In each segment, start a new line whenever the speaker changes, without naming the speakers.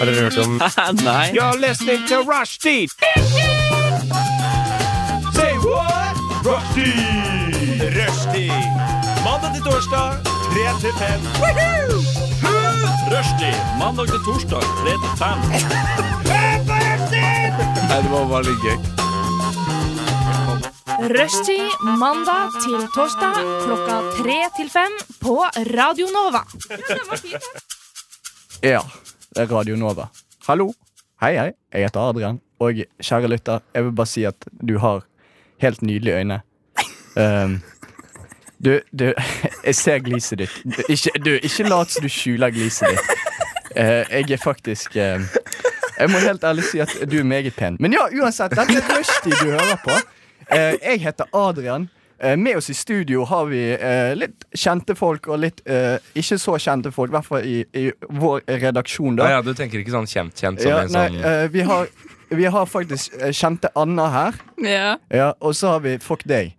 Har dere hørt om
Nei.
You're listening to Rushdie! Say what? Rushdie! Rushdie! Mandag til torsdag, 3 til 5.
Rushdie mandag til torsdag 3 til 5.
Nei, det var bare litt gøy.
Rushtid mandag til torsdag klokka tre til fem på Radio Nova.
Ja, det er Radio Nova. Hallo. Hei, hei. Jeg heter Adrian. Og kjære lytter, jeg vil bare si at du har helt nydelige øyne. Um, du, du Jeg ser gliset ditt. Du, ikke, du, ikke lat som du skjuler gliset ditt. Eh, jeg er faktisk eh, Jeg må helt ærlig si at du er meget pen. Men ja, uansett, dette er Rushdie du hører på. Eh, jeg heter Adrian. Eh, med oss i studio har vi eh, litt kjente folk og litt eh, ikke så kjente folk, i hvert fall i, i vår redaksjon. da
Ja, ja, du tenker ikke sånn kjent-kjent som
ja,
en
nei,
sånn
eh, vi, har, vi har faktisk eh, kjente Anna her.
Ja.
Ja, og så har vi Fuck deg.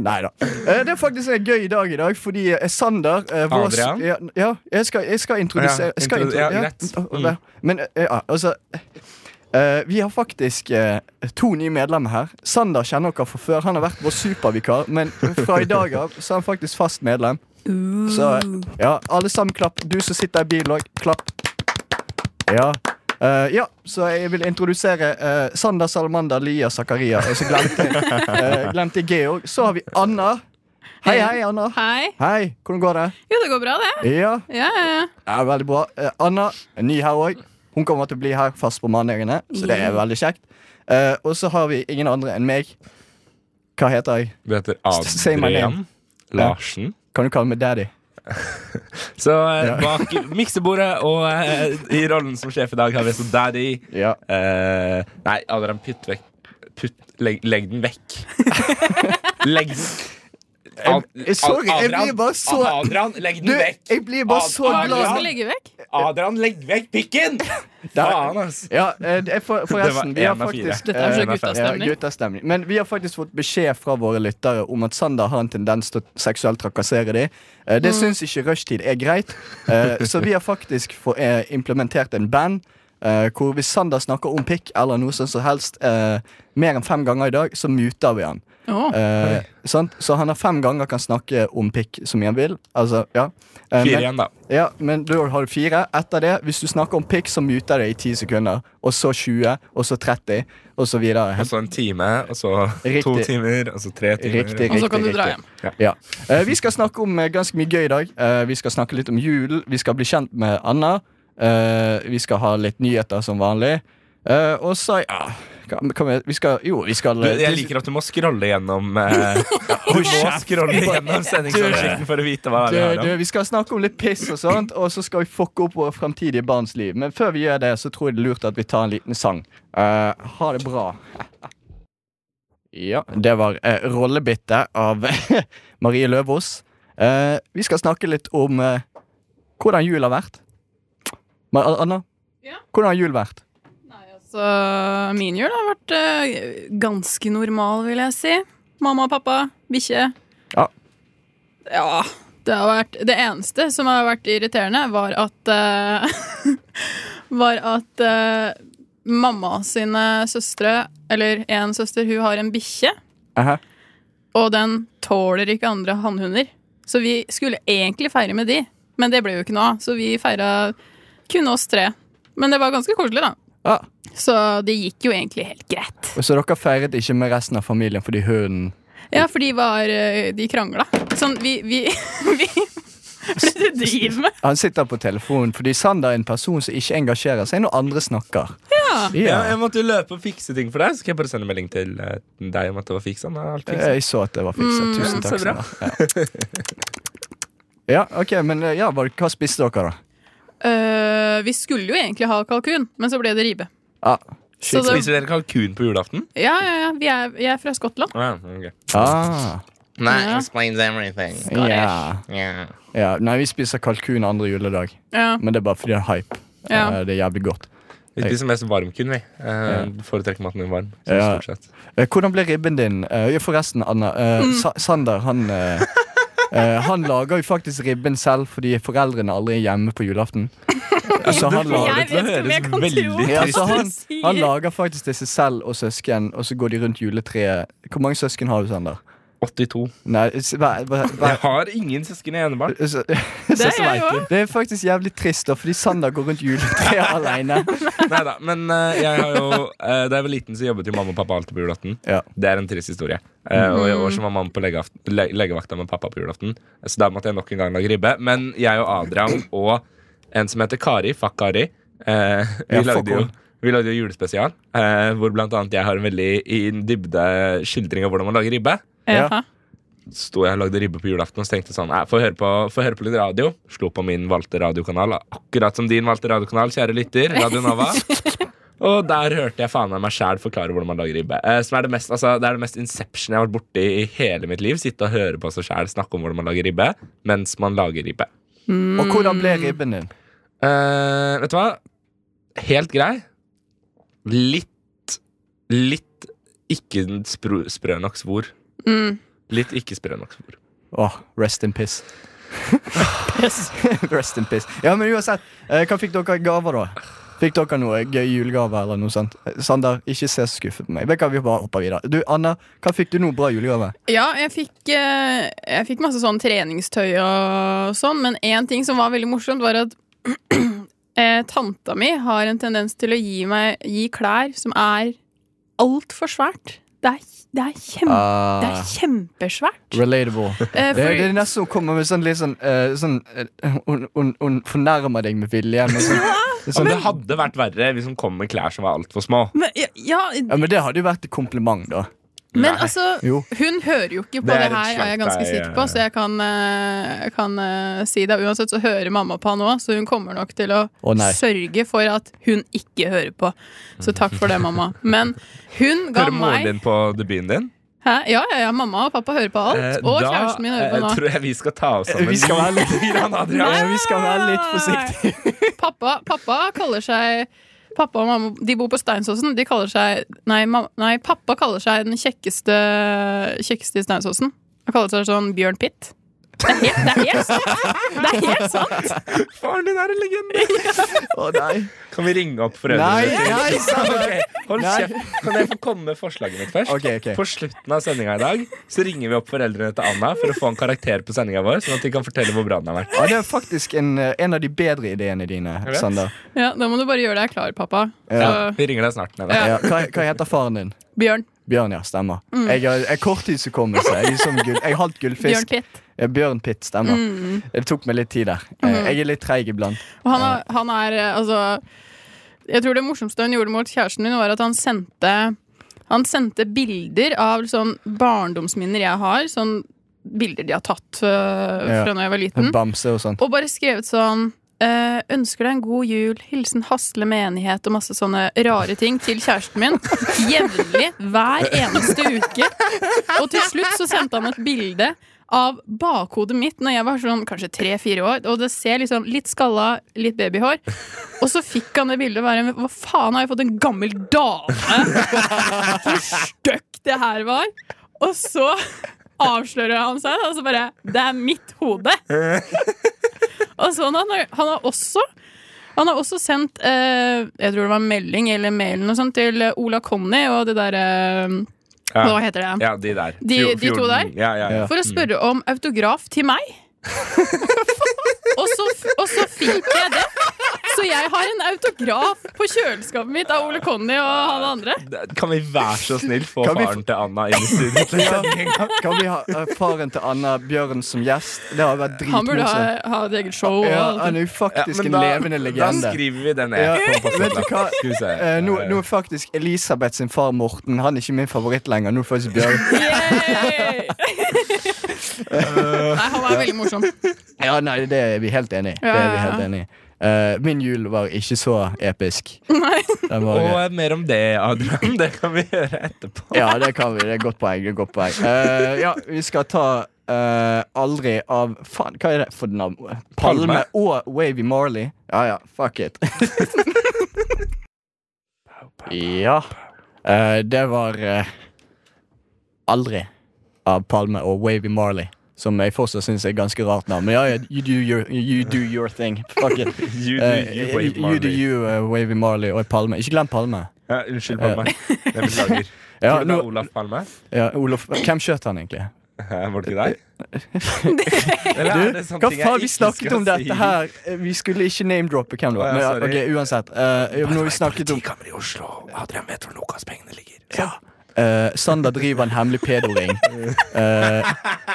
nei da. Eh, det er faktisk en gøy dag i dag, fordi eh, Sander eh, vår,
Adrian?
Ja, ja, jeg skal, jeg skal introdusere
Ja,
jeg skal
introdu-
intro-
ja,
ja,
greit.
mm, ja. Men eh, ja, altså eh, vi har faktisk eh, to nye medlemmer her. Sander kjenner dere fra før. Han har vært vår supervikar, men fra i dag av så er han faktisk fast medlem. Så eh, ja, alle sammen klapp. Du som sitter i bilen òg, klapp. Ja. Eh, ja, så jeg vil introdusere eh, Sander Salamander Lia Zakaria. Og så glemte, eh, glemte jeg Georg. Så har vi Anna. Hei, hei, Anna.
Hei.
Hei, hvordan går det?
Jo, det går bra, det.
Ja,
Ja, ja, ja.
ja veldig bra. Eh, Anna er ny her òg. Hun kommer til å bli her fast på mandagene, så det er veldig kjekt. Eh, og så har vi ingen andre enn meg. Hva heter jeg?
Du heter
say my
Adrian
name.
Larsen.
Kan du kalle meg daddy?
Så eh, bak miksebordet og eh, i rollen som sjef i dag har vi også Daddy.
Ja.
Eh, nei, Adrian, putt vekk putt, legg, legg den vekk. legg den Ad-
jeg- sorry, jeg
Adrian,
blir bare så-
Adrian, legg den
Du,
vekk!
jeg blir bare så
Adrian.
Hva er det du
glad.
skal legge vekk?
Adrian, legg vekk pikken! Faen, ass.
Ja, eh, det er for,
Det var
forresten, vi har
en av fire.
faktisk
Dette er
eh,
så
Eh,
ja,
guttastemning.
guttastemning. Men vi har faktisk fått beskjed fra våre lyttere om at Sander har en tendens til å seksuelt trakassere dem. Eh, det syns ikke rushtid er greit, eh, så vi har faktisk få, eh, implementert en band. eh, hvor hvis Sander snakker om pikk eller noe sånt som helst eh, mer enn fem ganger i dag, så muter vi han.
Å.
Eh, sant? Så han har fem ganger kan snakke om pikk så mye han vil. Altså, ja. Eh,
Fire
men-
igjen, da.
ja, men da har du fire. Etter det, hvis du snakker om pikk, så muter det i 10 sekunder. Og så 20, og så 30, og så videre.
Og så en time, og så to
Riktig.
timer, og så tre timer.
Riktig,
Og så kan du
riktig,
dra
riktig.
hjem.
Ja. Eh, vi skal snakke om eh, ganske mye gøy i dag. Eh, vi skal snakke litt om julen. Vi skal bli kjent med Anna. Eh, vi skal ha litt nyheter som vanlig. Eh, og så ja, hva- hva med- Vi skal Jo, vi skal eh,
Du, jeg liker at du må scrolle gjennom eh, Du må scrolle gjennom sendingsoversikten for å vite hva vi
du,
har
du,
om.
vi skal snakke om litt piss og sånt, og så skal vi fucke opp våre fremtidige barns liv. Men før vi gjør det, så tror jeg det er lurt at vi tar en liten sang. Eh, ha det bra. Ja, det var eh, rollebytte av Marie Løvaas. Eh, vi skal snakke litt om eh, hvordan jul har vært. Ma Anna,
Ja.
hvordan har jul vært?
Så min jul har vært eh, ganske normal, vil jeg si. Mamma og pappa, bikkje.
Ja.
Ja. Det, har vært, det eneste som har vært irriterende, var at eh, Var at eh, mamma sine søstre, eller én søster, hun har en bikkje.
Aha.
Og den tåler ikke andre hannhunder. Så vi skulle egentlig feire med de, men det ble jo ikke noe av. Så vi feira kun oss tre. Men det var ganske koselig, da.
Ja.
Så det gikk jo egentlig helt greit.
Og Så dere feiret ikke med resten av familien fordi hunden
Ja, for de var eh, De krangla. Sånn, vi, vi, vi Hva er det du driver med?
Han sitter på telefonen fordi Sander er en person som ikke engasjerer seg når andre snakker. Ja,
Ja, jeg måtte jo løpe og fikse ting for deg, så kan jeg bare sende melding til eh, deg om at det var fiksa. Nå er alt fiksa.
Jeg så at det var fiksa. Eh, Tusen
så
takk.
bra.
Sander. Ja. ja, ok, men eh, ja, hva, hva spiste dere, da?
Eh, vi skulle jo egentlig ha kalkun, men så ble det ribbe.
Ah,
Så det,
Spiser dere kalkun på julaften?
ja, ja, ja. Vi er, jeg er fra Skottland.
Ah, ok.
ah,
Ja.
explains everything.
ja.
Yeah.
ja. Nei, vi spiser kalkun andre juledag,
Ja.
men det er bare fordi det er hype.
Ja.
Eh, Det er jævlig godt.
Vi spiser mest varmkun, vi. Eh, Foretrekker maten min varm. Så
Ja.
stort sett.
Eh, Hvordan ble ribben din? Eh, ja, Forresten, Anna. eh, Sa Sander, han eh, Eh, han lager jo faktisk ribben selv fordi foreldrene aldri er hjemme på julaften. Så han lager
Jeg vet ikke om jeg kan tro
veldig
det.
ja, så han,
Sier-
han lager faktisk til seg selv og søsken, og så går de rundt juletreet. Hvor mange søsken har du, Sander?
82.
Nei, s- hver, hver,
Jeg
hver,
har ingen søsken i enebarn.
så,
Det er jeg òg.
det er faktisk jævlig trist, da, fordi Sander går rundt juletreet alene.
Neida, men eh, jeg har jo eh, Da jeg var liten, så jobbet jo mamma og pappa alltid på julaften.
Ja. Mhm.
Det er en trist historie. Eh, og i år så var mamma på legeaft- le legevakta med pappa på julaften, så da måtte jeg nok en gang lage ribbe. Men jeg og Adrian og en som heter Kari, fuck Kari, eh, vi,
Ja, fuck
lagde jo,
hun.
vi lagde jo julespesial, eh, hvor blant annet jeg har en veldig i dybde skildring av hvordan man lager ribbe.
Ja.
Ja.
Sto jeg og lagde ribbe på julaften og så tenkte jeg sånn eh, Få høre, på- få høre på litt radio. Slo på min valgte radiokanal, akkurat som din valgte radiokanal, kjære lytter, Radio Nova. Og der hørte jeg faen meg meg sjæl forklare hvordan man lager ribbe. Eh, som er det, mest, altså, det er det mest inception jeg har vært borti i hele mitt liv. Sitte og høre på seg sjæl snakke om hvordan man lager ribbe mens man lager ribbe.
Og hvordan ble ribben din?
Eh, vet du hva? Helt grei. Litt Litt ikke den spro- sprø nok svor.
Mm.
Litt ikke sprø nok svor.
Åh, rest in piss. rest in piss. Ja, men uansett, eh, hva fikk dere i gaver, da? Fikk dere noe gøy julegave eller noe sånt? Eh, Sander, ikke se så skuffet på meg. Vet du hva, vi bare hopper videre. Du, Anna, hva fikk du noe bra julegave?
Ja, jeg fikk, eh, jeg fikk masse sånn treningstøy og sånn, men én ting som var veldig morsomt, var at eh, tanta mi har en tendens til å gi meg gi klær som er altfor svært. Det er, det er, kjem, det er kjempesvært.
relatable.
Eh,
Ah. Det, det
for,
er nesten hun kommer med sånn litt sånn, eh, sånn eh, hun, hun, hun fornærmer deg med vilje. Med sånn,
Ja, men det hadde vært verre hvis hun kom med klær som var altfor små.
men, ja,
ja, men det hadde jo vært et kompliment, da.
men
Nei.
altså
Jo.
Hun hører jo ikke på
Det
det,
er et
her, er jeg ganske
slank, det er-
sikker på, så jeg kan, eh, kan eh, si det. Uansett så hører mamma på han òg, så hun kommer nok til å
Å, nei.
sørge for at hun ikke hører på. Så takk for det, mamma. Men hun ga
Hører moren
meg
din på debuten din?
Hæ? Ja, ja, ja, mamma og pappa hører på alt.
Eh,
og
da,
kjæresten min hører
eh,
på nå.
tror jeg vi skal ta oss sammen.
Vi skal være litt-
Grann, Adrian.
Ja, vi skal være litt forsiktige.
Pappa, pappa kaller seg Pappa og mamma de bor på Steinsåsen. De kaller seg Nei, mamma, nei pappa kaller seg den kjekkeste, kjekkeste i Steinsåsen. Han kaller seg sånn Bjørn Pitt. Det er helt, det er helt sant! Det er helt sant.
Faren din er en legende!
Å nei.
Kan vi ringe opp
Nei,
foreldrene?
nei, Sander.
Hold
Nei.
kjeft. Kan jeg få komme med forslaget mitt først?
Ok, ok.
På slutten av sendinga i dag Så ringer vi opp foreldrene til Anna for å få en karakter på sendinga vår. Sånn at de kan fortelle hvor bra den har vært.
Ja, det er faktisk en, eh, en av de bedre ideene dine,
vet.
Sander.
Ja, Da må du bare gjøre deg klar, pappa.
Ja,
Så,
vi ringer deg snart. Neda.
Ja.
Ja, hva, hva heter faren din?
Bjørn.
Bjørn, ja. Stemmer. Jeg har jeg har korttidshukommelse. Jeg er, som gull, jeg er halvt
Bjørn
gullfisk.
Pitt.
Eh, Bjørn Pitt, stemmer. Det tok meg litt tid der. Eh, Jeg er litt treig iblant.
Og han er, han er eh, altså Jeg tror det morsomste hun gjorde mot kjæresten min, var at han sendte Han sendte bilder av sånn barndomsminner jeg har. Sånn bilder de har tatt øh,
Ja.
fra da jeg var liten.
Bamse og sånt.
Og bare skrevet sånn eh, ønsker deg en god jul, hilsen Hasle menighet og masse sånne rare ting til kjæresten min. Jevnlig, hver eneste uke. Og til slutt så sendte han et bilde av bakhodet mitt når jeg var sånn kanskje tre-fire år. Og det ser liksom litt skalla, litt babyhår. Og så fikk han det bildet og bare Hva faen, har jeg fått en gammel dame? Hvor støkk det her var. Og så avslører han seg, da, og så bare Det er mitt hode! Altså, han, har, han har også han har også sendt eh, jeg tror det var en melding eller mailen og sånt, til eh, Ola Conny og det derre
Ja.
Hva heter det?
Ja, de der.
De-
Fjor-
de to
fjorden. Ja, ja, ja.
Ja. Mm.
For å spørre om autograf til meg. og, så, f- og så fikk jeg det. Så jeg har en autograf på kjøleskapet mitt av Ole Conny og han andre.
Kan vi være så snill få
Kan vi
faren til Anna inn i studio? til sendingen?
Kan vi ha eh, faren til Anna Bjørn som gjest? Det har vært
Han burde ha,
dritmorsomt.
ha et eget show. Og
Ja,
alt.
han er jo
Ja,
faktisk
men
en levende
Da
legende.
skriver vi det ned.
Ja,
på posten.
vet du hva?
Skal vi se.
Eh, nå, nå er faktisk Elisabeth sin far Morten Han er ikke min favoritt lenger. Nå er faktisk Bjørn.
Yay! Nei, han var veldig morsom.
Ja, nei, Det er vi helt enig i. Det er vi helt enig i. Eh, min jul var ikke så episk. Den var,
Og eh, mer om det, Adrian. Det kan vi gjøre etterpå.
Ja, det kan vi. Det er et godt poeng. Det er et godt poeng. Eh, ja, vi skal ta eh, Aldri av Faen, hva er det for navn? Palme,
Palme.
og Wavy Marley. Ja ja, fuck it. ja. Eh, det var eh, Aldri av Palme og Wavy Marley. Som jeg fortsatt syns er ganske rart navn. Men ja, ja, you do your, you do your thing. Fuck it.
You do
Eh,
you, Wave
you do
Marley.
you, eh, Wavy Marley og Palme. Ikke glem Palme.
Ja, unnskyld, Palme. Jeg beklager.
Eh. Ja,
Tror du det er
nå,
Olaf Palme?
ja, Olof, hvem skjøt han egentlig?
Hæ, Var det ikke deg? Eller
Du,
er det sånne
hva
ting jeg
faen, vi
ikke
snakket
skal
om
si?
dette her. Eh, Vi skulle ikke name-droppe hvem det var.
Å,
Men,
ja,
ja,
sorry.
ok, uansett. eh, når vi snakket om
Politikammer i Oslo. Adrian vet hvor Nokas-pengene ligger.
ja. Eh, Sander driver en hemmelig pedoring. Eh,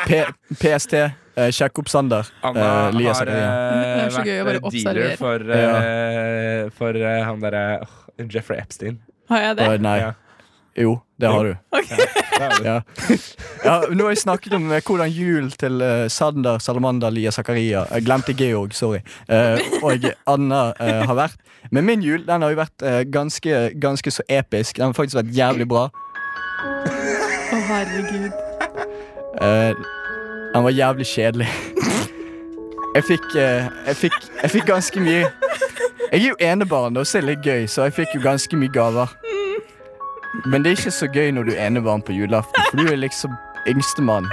P PST, eh, sjekk opp Sander.
Anna
Eh, Lia
har
Zakaria.
eh,
Det er så gøy å bare
vært eh, dealer
observere.
for, eh, for eh, han derre åh, Jeffrey Epstein.
Har jeg det?
Å, nei.
Ja.
Jo, det har du.
Ja, det-
Ja. ja, nå har jeg snakket om eh, hvordan jul til eh, Sander, Salamander, Lia Zakaria Jeg glemte Georg, sorry. Eh, og Anna eh, har vært. Men min jul den har jo vært eh, ganske, ganske så episk. Den har faktisk vært jævlig bra.
Å, herregud.
Eh, den var jævlig kjedelig. Jeg fikk, eh, jeg fikk, jeg fikk ganske mye Jeg er jo enebarn, og så er det litt gøy, så jeg fikk jo ganske mye gaver. Men det er ikke så gøy når du er enebarn på julaften, for du er liksom yngstemann.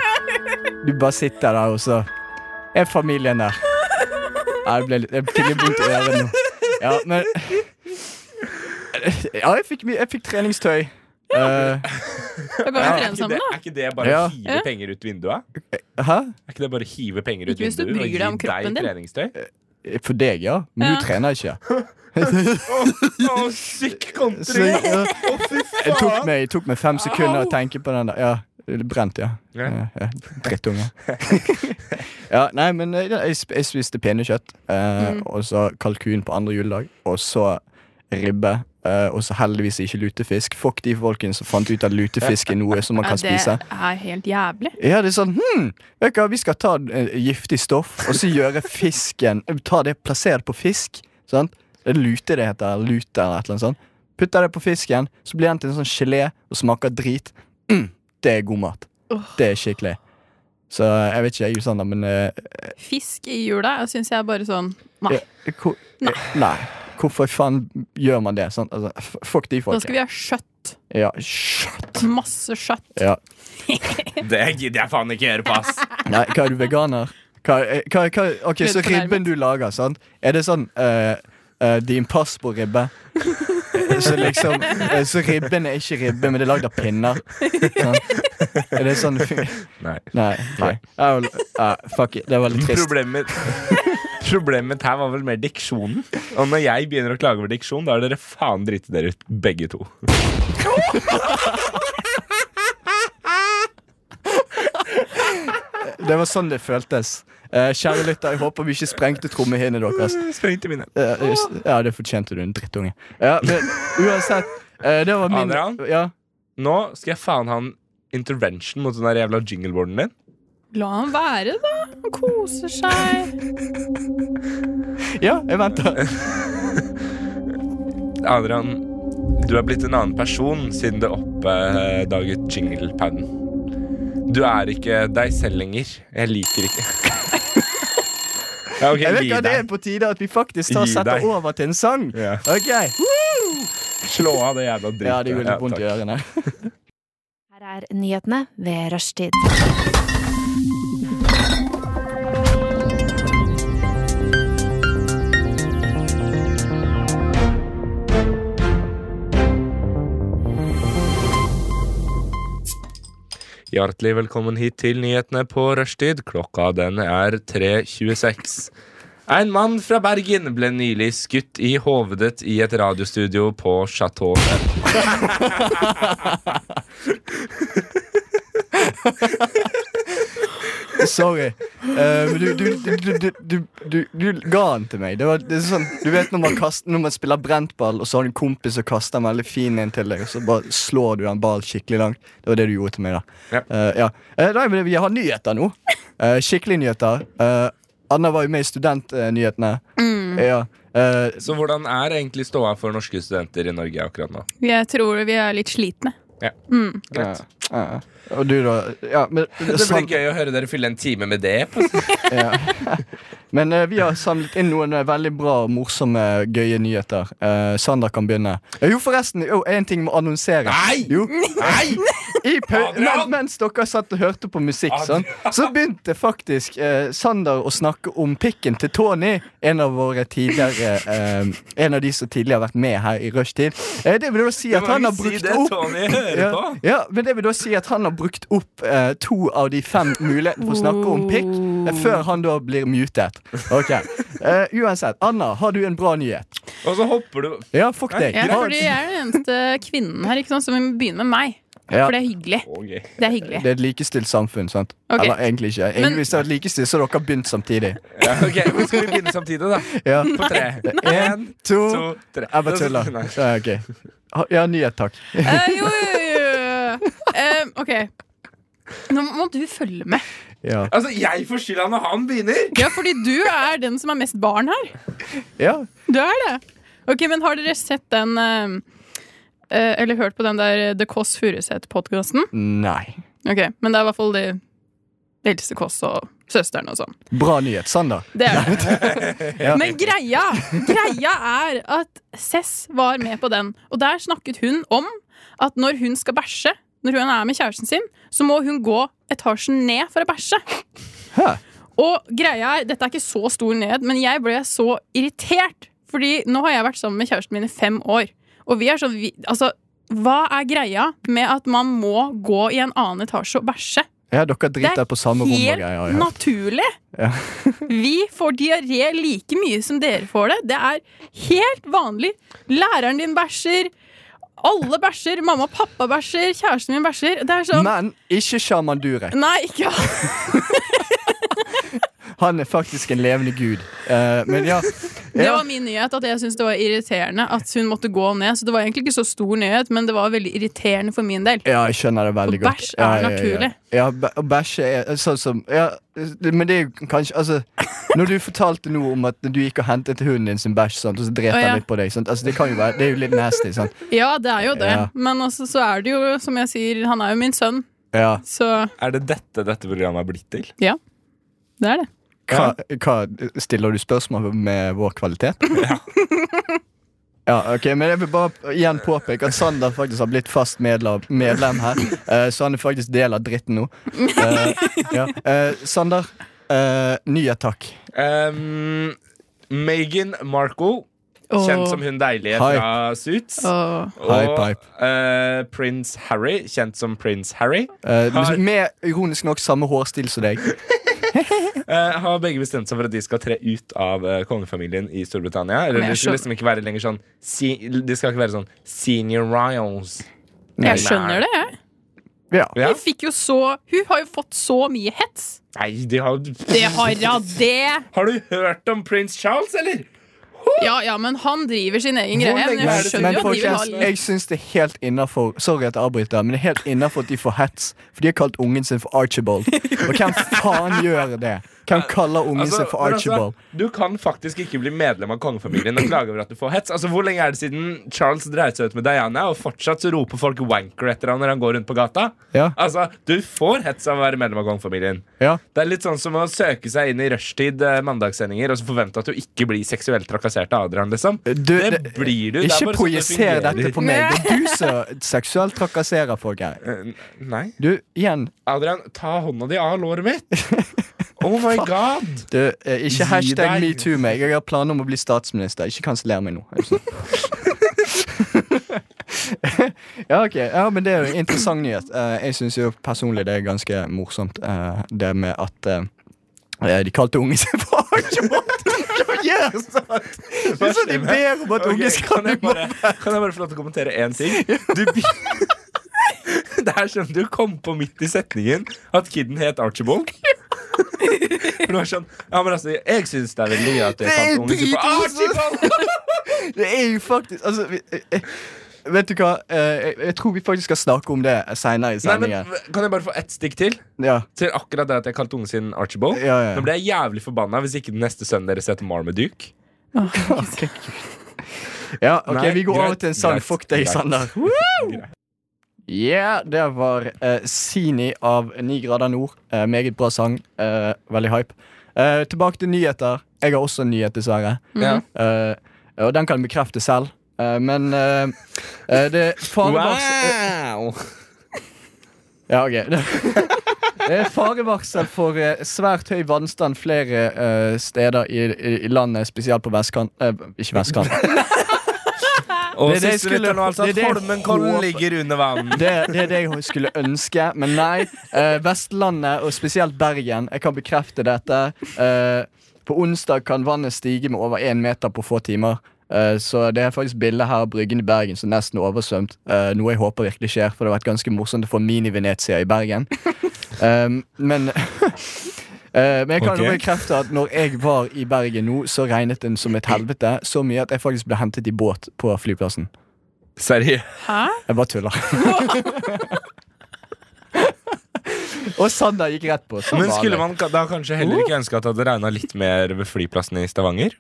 Du bare sitter der, og så er familien der. Nei, det ble litt Jeg fikk litt vondt i øret nå. Ja, men Ja, jeg fikk, mye- jeg fikk treningstøy. Eh,
Da kan vi
Er
trene
ikke det,
sammen, da.
er ikke det bare
Ja.
å hive
Ja.
penger ut vinduet?
hæ?
Er ikke det bare å hive penger ut
Ikke hvis du
vinduet og
bryr
gi
deg om kroppen din.
treningstøy?
For deg, ja. Men
Ja.
du trener ikke.
Å, syk
Så,
kontring!
ja.
Å, fy
Det tok
faen!
meg, det tok meg fem sekunder å tenke på den der. Ja, det er brent, ja.
Ja.
ja, ja. Drittunge. ja, nei, men eh, jeg, sp- jeg spiste pinnekjøtt, eh,
Mm.
og så kalkun på andre juledag, og så ribbe. eh, og så heldigvis ikke lutefisk. Fuck de folkene som fant ut at lutefisk er noe som man kan
Ja, det
spise.
er helt jævlig.
Ja, det er sånn, hmm, vet du hva, Vi skal ta eh, giftig stoff og så gjøre fisken Ta det, Plassere det på fisk. Sant? Det er lute det heter. Lute eller et eller annet sånt. Putter det på fisken, så blir den til en sånn gelé og smaker drit. Mm, det er god mat.
Åh.
Det er skikkelig. Så eh, jeg vet ikke, jeg, Sander, men eh,
Fisk i jula jeg syns jeg er bare sånn Nei.
eh, hvor, eh, nei. Hvorfor faen gjør man det? Sant? Altså, f- fuck de
Da skal
folka.
vi ha kjøtt.
Ja, shit.
Masse kjøtt.
Ja.
Det gidder jeg faen ikke høre på, ass.
Nei, hva er du veganer? Hva, eh, hva, hva, ok,
Litt
så
fornærmet.
ribben du lager, sant? Er det sånn eh, eh, din pass på ribbe? Eh, Så liksom eh, Så ribben er ikke ribbe, men det er lagd av pinner. Sånn. Er det sånn
Nei.
Nei. nei. Jeg vil- eh, fuck it. Det var litt trist.
Problemet, problemet her var vel mer diksjonen. Og når jeg begynner å klage over diksjon, da har dere faen driti dere ut, begge to.
Det var sånn det føltes. Eh, kjære lytter, jeg håper vi ikke sprengte trommehinnene deres.
Sprengte mine.
Eh, just- ja, det fortjente du, en drittunge. Ja, men uansett. eh, det var min
Adrian?
Ja.
Nå skal jeg faen ha en intervention mot den der jævla jingleboarden din.
La han være, da. Han koser seg.
ja, jeg venter.
Adrian, du er blitt en annen person siden du oppdaget jinglepaden. Du er ikke deg selv lenger. Jeg liker ikke Ja, ok,
Jeg vet
gi
hva, Det er
deg.
på tide at vi faktisk tar og
Gi
setter
deg.
over til en sang.
Ja.
Ok
Slå av det jævla dritet.
Ja, det gjorde litt vondt i
takk.
ørene.
Her er nyhetene ved rushtid.
Hjertelig velkommen hit til nyhetene på rushtid. Klokka den er 3.26. En mann fra Bergen ble nylig skutt i hovedet i et radiostudio på Chateau Neuf.
Sorry. Eh, men du, du, du, du, du, du, du, du ga den til meg. Det var, det er sånn, du vet når man, kaster, når man spiller brentball, og så har du en kompis som kaster en veldig fin en til deg, og så bare slår du en ball skikkelig langt. Det var det du gjorde til meg, da.
Ja.
Eh, ja. Eh, nei, men vi har nyheter nå. Eh, Skikkelige nyheter. Eh, Anna var jo med i Studentnyhetene. Ja. Eh,
Så hvordan er egentlig ståa for norske studenter i Norge akkurat nå?
Jeg tror vi er litt slitne.
Ja, greit.
ja. Ja. Og du, da? Ja, men
Det blir
sam-
gøy å høre dere fylle en time med det. På.
Ja. Men eh, vi har samlet inn noen eh, veldig bra, morsomme, gøye nyheter. Eh, Sander kan begynne. Eh, Jo, forresten, jo, en ting må annonsere.
Nei!
Jo,
Nei!
i pau-
Adrian!
men, mens dere satt og hørte på musikk, sånn, så begynte faktisk eh, Sander å snakke om pikken til Tony. En av våre tidligere eh, En av de som tidligere har vært med her i rushtid. Eh, det vil da si at han har brukt opp
Tony hører
ja, ja, men det vil da si at han har brukt opp eh, to av de fem mulighetene for å snakke om pikk, eh,
Oh.
før han da blir mutet. Ok, Eh, Uansett, Anna, har du en bra nyhet?
Og så hopper du
Ja, fuck deg.
Ja,
Har-
fordi jeg er den eneste kvinnen her ikke sant, som begynner med meg.
Ja.
For det er hyggelig.
Å, gøy.
Det er hyggelig.
Det er et likestilt samfunn, sant?
Ok.
Eller egentlig ikke. Egentlig hvis det hadde vært likestilt, så hadde dere begynt samtidig.
Ja, ok, men Skal vi begynne samtidig, da?
Ja.
På tre. En,
To
to, tre.
Jeg bare tuller.
Nei.
Ja, ok. Ha- Ja, nyhet, takk.
Eh, jo, jo, jo, jo. Eh, OK. Nå må du følge med.
Ja,
Altså, jeg får skylda når han begynner!
Ja, fordi du er den som er mest barn her.
ja.
Du er det. Ok, men har dere sett den eh, eh, Eller hørt på den der The Kåss Furuseth-podkasten?
Nei.
Ok, men det er i hvert fall de det eldste Kåss og søsteren og sånn.
Bra nyhet. Sander.
Det er det.
Ja.
Men greia, greia er at Cess var med på den, og der snakket hun om at når hun skal bæsje, når hun er med kjæresten sin, så må hun gå etasjen ned for å bæsje.
Hæ?
Og greia er, dette er ikke så stor nyhet, men jeg ble så irritert. Fordi nå har jeg vært sammen med kjæresten min i fem år. Og vi er sånn vi, Altså, hva er greia med at man må gå i en annen etasje og bæsje?
Ja, dere
Det er
driter på samme rom og
Helt
greier. har jeg hørt.
naturlig!
Ja.
vi får diaré like mye som dere får det. Det er helt vanlig. Læreren din bæsjer. Alle bæsjer. Mamma og pappa bæsjer. Kjæresten min bæsjer. Det er sånn
Men ikke Shaman Durek.
Nei, ikke
Han er faktisk en levende gud. Eh, men ja.
Det
ja.
var min nyhet at jeg syntes det var irriterende at hun måtte gå ned. Så det var egentlig ikke så stor nyhet, men det var veldig irriterende for min del.
Ja, jeg skjønner det veldig
Og
godt.
bæsj er
Ja, ja, ja.
naturlig.
Ja, bæ- og bæsj er sånn som ja, det- Men det er jo kanskje Altså, når du fortalte noe om at du gikk og hentet hunden din sin bæsj, sant, og så drepte
Å, ja.
han litt på deg sant? Altså, Det kan jo være, det er jo litt nasty, sant?
Ja, det er jo det,
Ja.
men også, så er det jo, som jeg sier, han er jo min sønn,
Ja.
så
Er det dette dette programmet er blitt til?
det er det.
Hva, hva, stiller du spørsmål med vår kvalitet? Ja, ok, men jeg vil bare igjen påpeke at Sander faktisk har blitt fast medlem, medlem her. eh, så han er faktisk del av dritten nå. Eh, ja. Eh, Sander, uh, nyhet takk.
Um, Meghan Markle, kjent som hun deilige fra Suits.
Åh.
High
Og
pipe.
eh, prins Harry, kjent som prins Harry,
Eh,
Hei.
med ironisk nok samme hårstil som deg.
eh, har begge bestemt seg for at de skal tre ut av eh, kongefamilien i Storbritannia. Eller
Men
de
jeg
skal
skjønner-
liksom ikke være lenger sånn se, De skal ikke være sånn senior royals.
Jeg skjønner det, jeg.
Ja.
Ja.
Hun fikk jo så Hun har jo fått så mye hets.
Nei, de har
Det har hun, det!
Har du hørt om prins Charles, eller?
Ja ja, men han driver sin egen greie.
lenge
Men
er
jeg
det til-
skjønner
Men
jo at de vil ha
folkens,
litt
jeg syns det er helt innafor Sorry at jeg avbryter, men det er helt innafor at de får hets. For de har kalt ungen sin for Archibald. Og hvem faen gjør det? Hvem kaller ungen
Altså,
sin for
men altså,
Archibald?
du kan faktisk ikke bli medlem av kongefamilien og klage over at du får hets. Altså, Hvor lenge er det siden Charles dreit seg ut med Diana, og fortsatt så roper folk wanker etter han når han går rundt på gata?
Ja,
Altså, Du får hets av å være medlem av kongefamilien.
ja.
Det er litt sånn som å søke seg inn i rushtid eh, mandagssendinger og så forvente at du ikke blir seksuelt trakassert av Adrian. liksom
Du,
Det
det-
blir du. Det er
Ikke
bare sånn det
projiser
fungerer.
dette på meg. Det er du som seksuelt trakasserer folk her.
Eh, Nei.
Du, igjen.
Adrian, ta hånda di av låret mitt! Oh my god!
Du, eh, ikke
Gi
hashtag
deg.
metoo meg. Jeg har planer om å bli statsminister. Ikke kanseller meg nå. er det sånn? ja, ok. Ja, men det er jo en interessant nyhet. Eh, jeg syns jo personlig det er ganske morsomt, eh, det med at eh, de kalte ungen sin for Archibald! Hva gjør sånn? Det er sånn de ber om at
Ok,
ungen skal
kan, jeg
bli
bare, kan jeg bare få lov til å kommentere én ting? Du, be- det er som du kom på midt i setningen at kiden het Archibald. For det var sånn Ja, men altså, jeg syns det er veldig gøy at jeg
Det er
kalte ungen sin for
dritmorsomt.
Archibald!
Det er jo faktisk Altså vi, eh, eh, Vet du hva? Eh, Jeg, jeg tror vi faktisk skal snakke om det seinere i
Nei,
sendingen.
men Kan jeg bare få ett stikk til?
Ja,
Til akkurat det at jeg kalte ungen sin Archibald?
ja, ja.
Nå ble jeg jævlig forbanna hvis ikke den neste sønnen deres heter Marmaduke.
ja ok,
Nei,
Vi går
greit,
over til en sang.
greit,
Fuck deg,
greit.
Sander. Yeah, det var eh, Sini av 9 grader nord. Eh, meget bra sang. Eh, veldig hype. Eh, tilbake til nyheter. Jeg har også en nyhet, dessverre.
Ja.
Eh, og den kan jeg bekrefte selv. Eh, men eh, eh, det er farevarsel...
Wow!
Ja, ok. Det er farevarsel for eh, svært høy vannstand flere eh, steder i, i, i landet, spesielt på vestkant... eh, ikke vestkant.
Og
Det er det jeg
siste
skulle-
lytteren var altså at
det er det jeg
Holmenkollen
håper.
ligger under vann.
Det, det er det jeg skulle ønske, men nei. Eh, Vestlandet, og spesielt Bergen, jeg kan bekrefte dette. Eh, på onsdag kan vannet stige med over én meter på få timer. Eh, så det er faktisk bilde her av Bryggen i Bergen som nesten er oversvømt. Eh, noe jeg håper virkelig skjer, for det har vært ganske morsomt å få mini-Venezia i Bergen. Um, men Eh, men jeg kan jo
Ok.
bekrefte at når jeg var i Bergen nå, så regnet den som et helvete. Så mye at jeg faktisk ble hentet i båt på flyplassen.
Seriøst.
Hæ?
Jeg bare tuller. og Sander gikk rett på. som
Men
vanlig.
skulle man ka- da kanskje heller ikke ønske at det hadde regna litt mer ved flyplassen i Stavanger?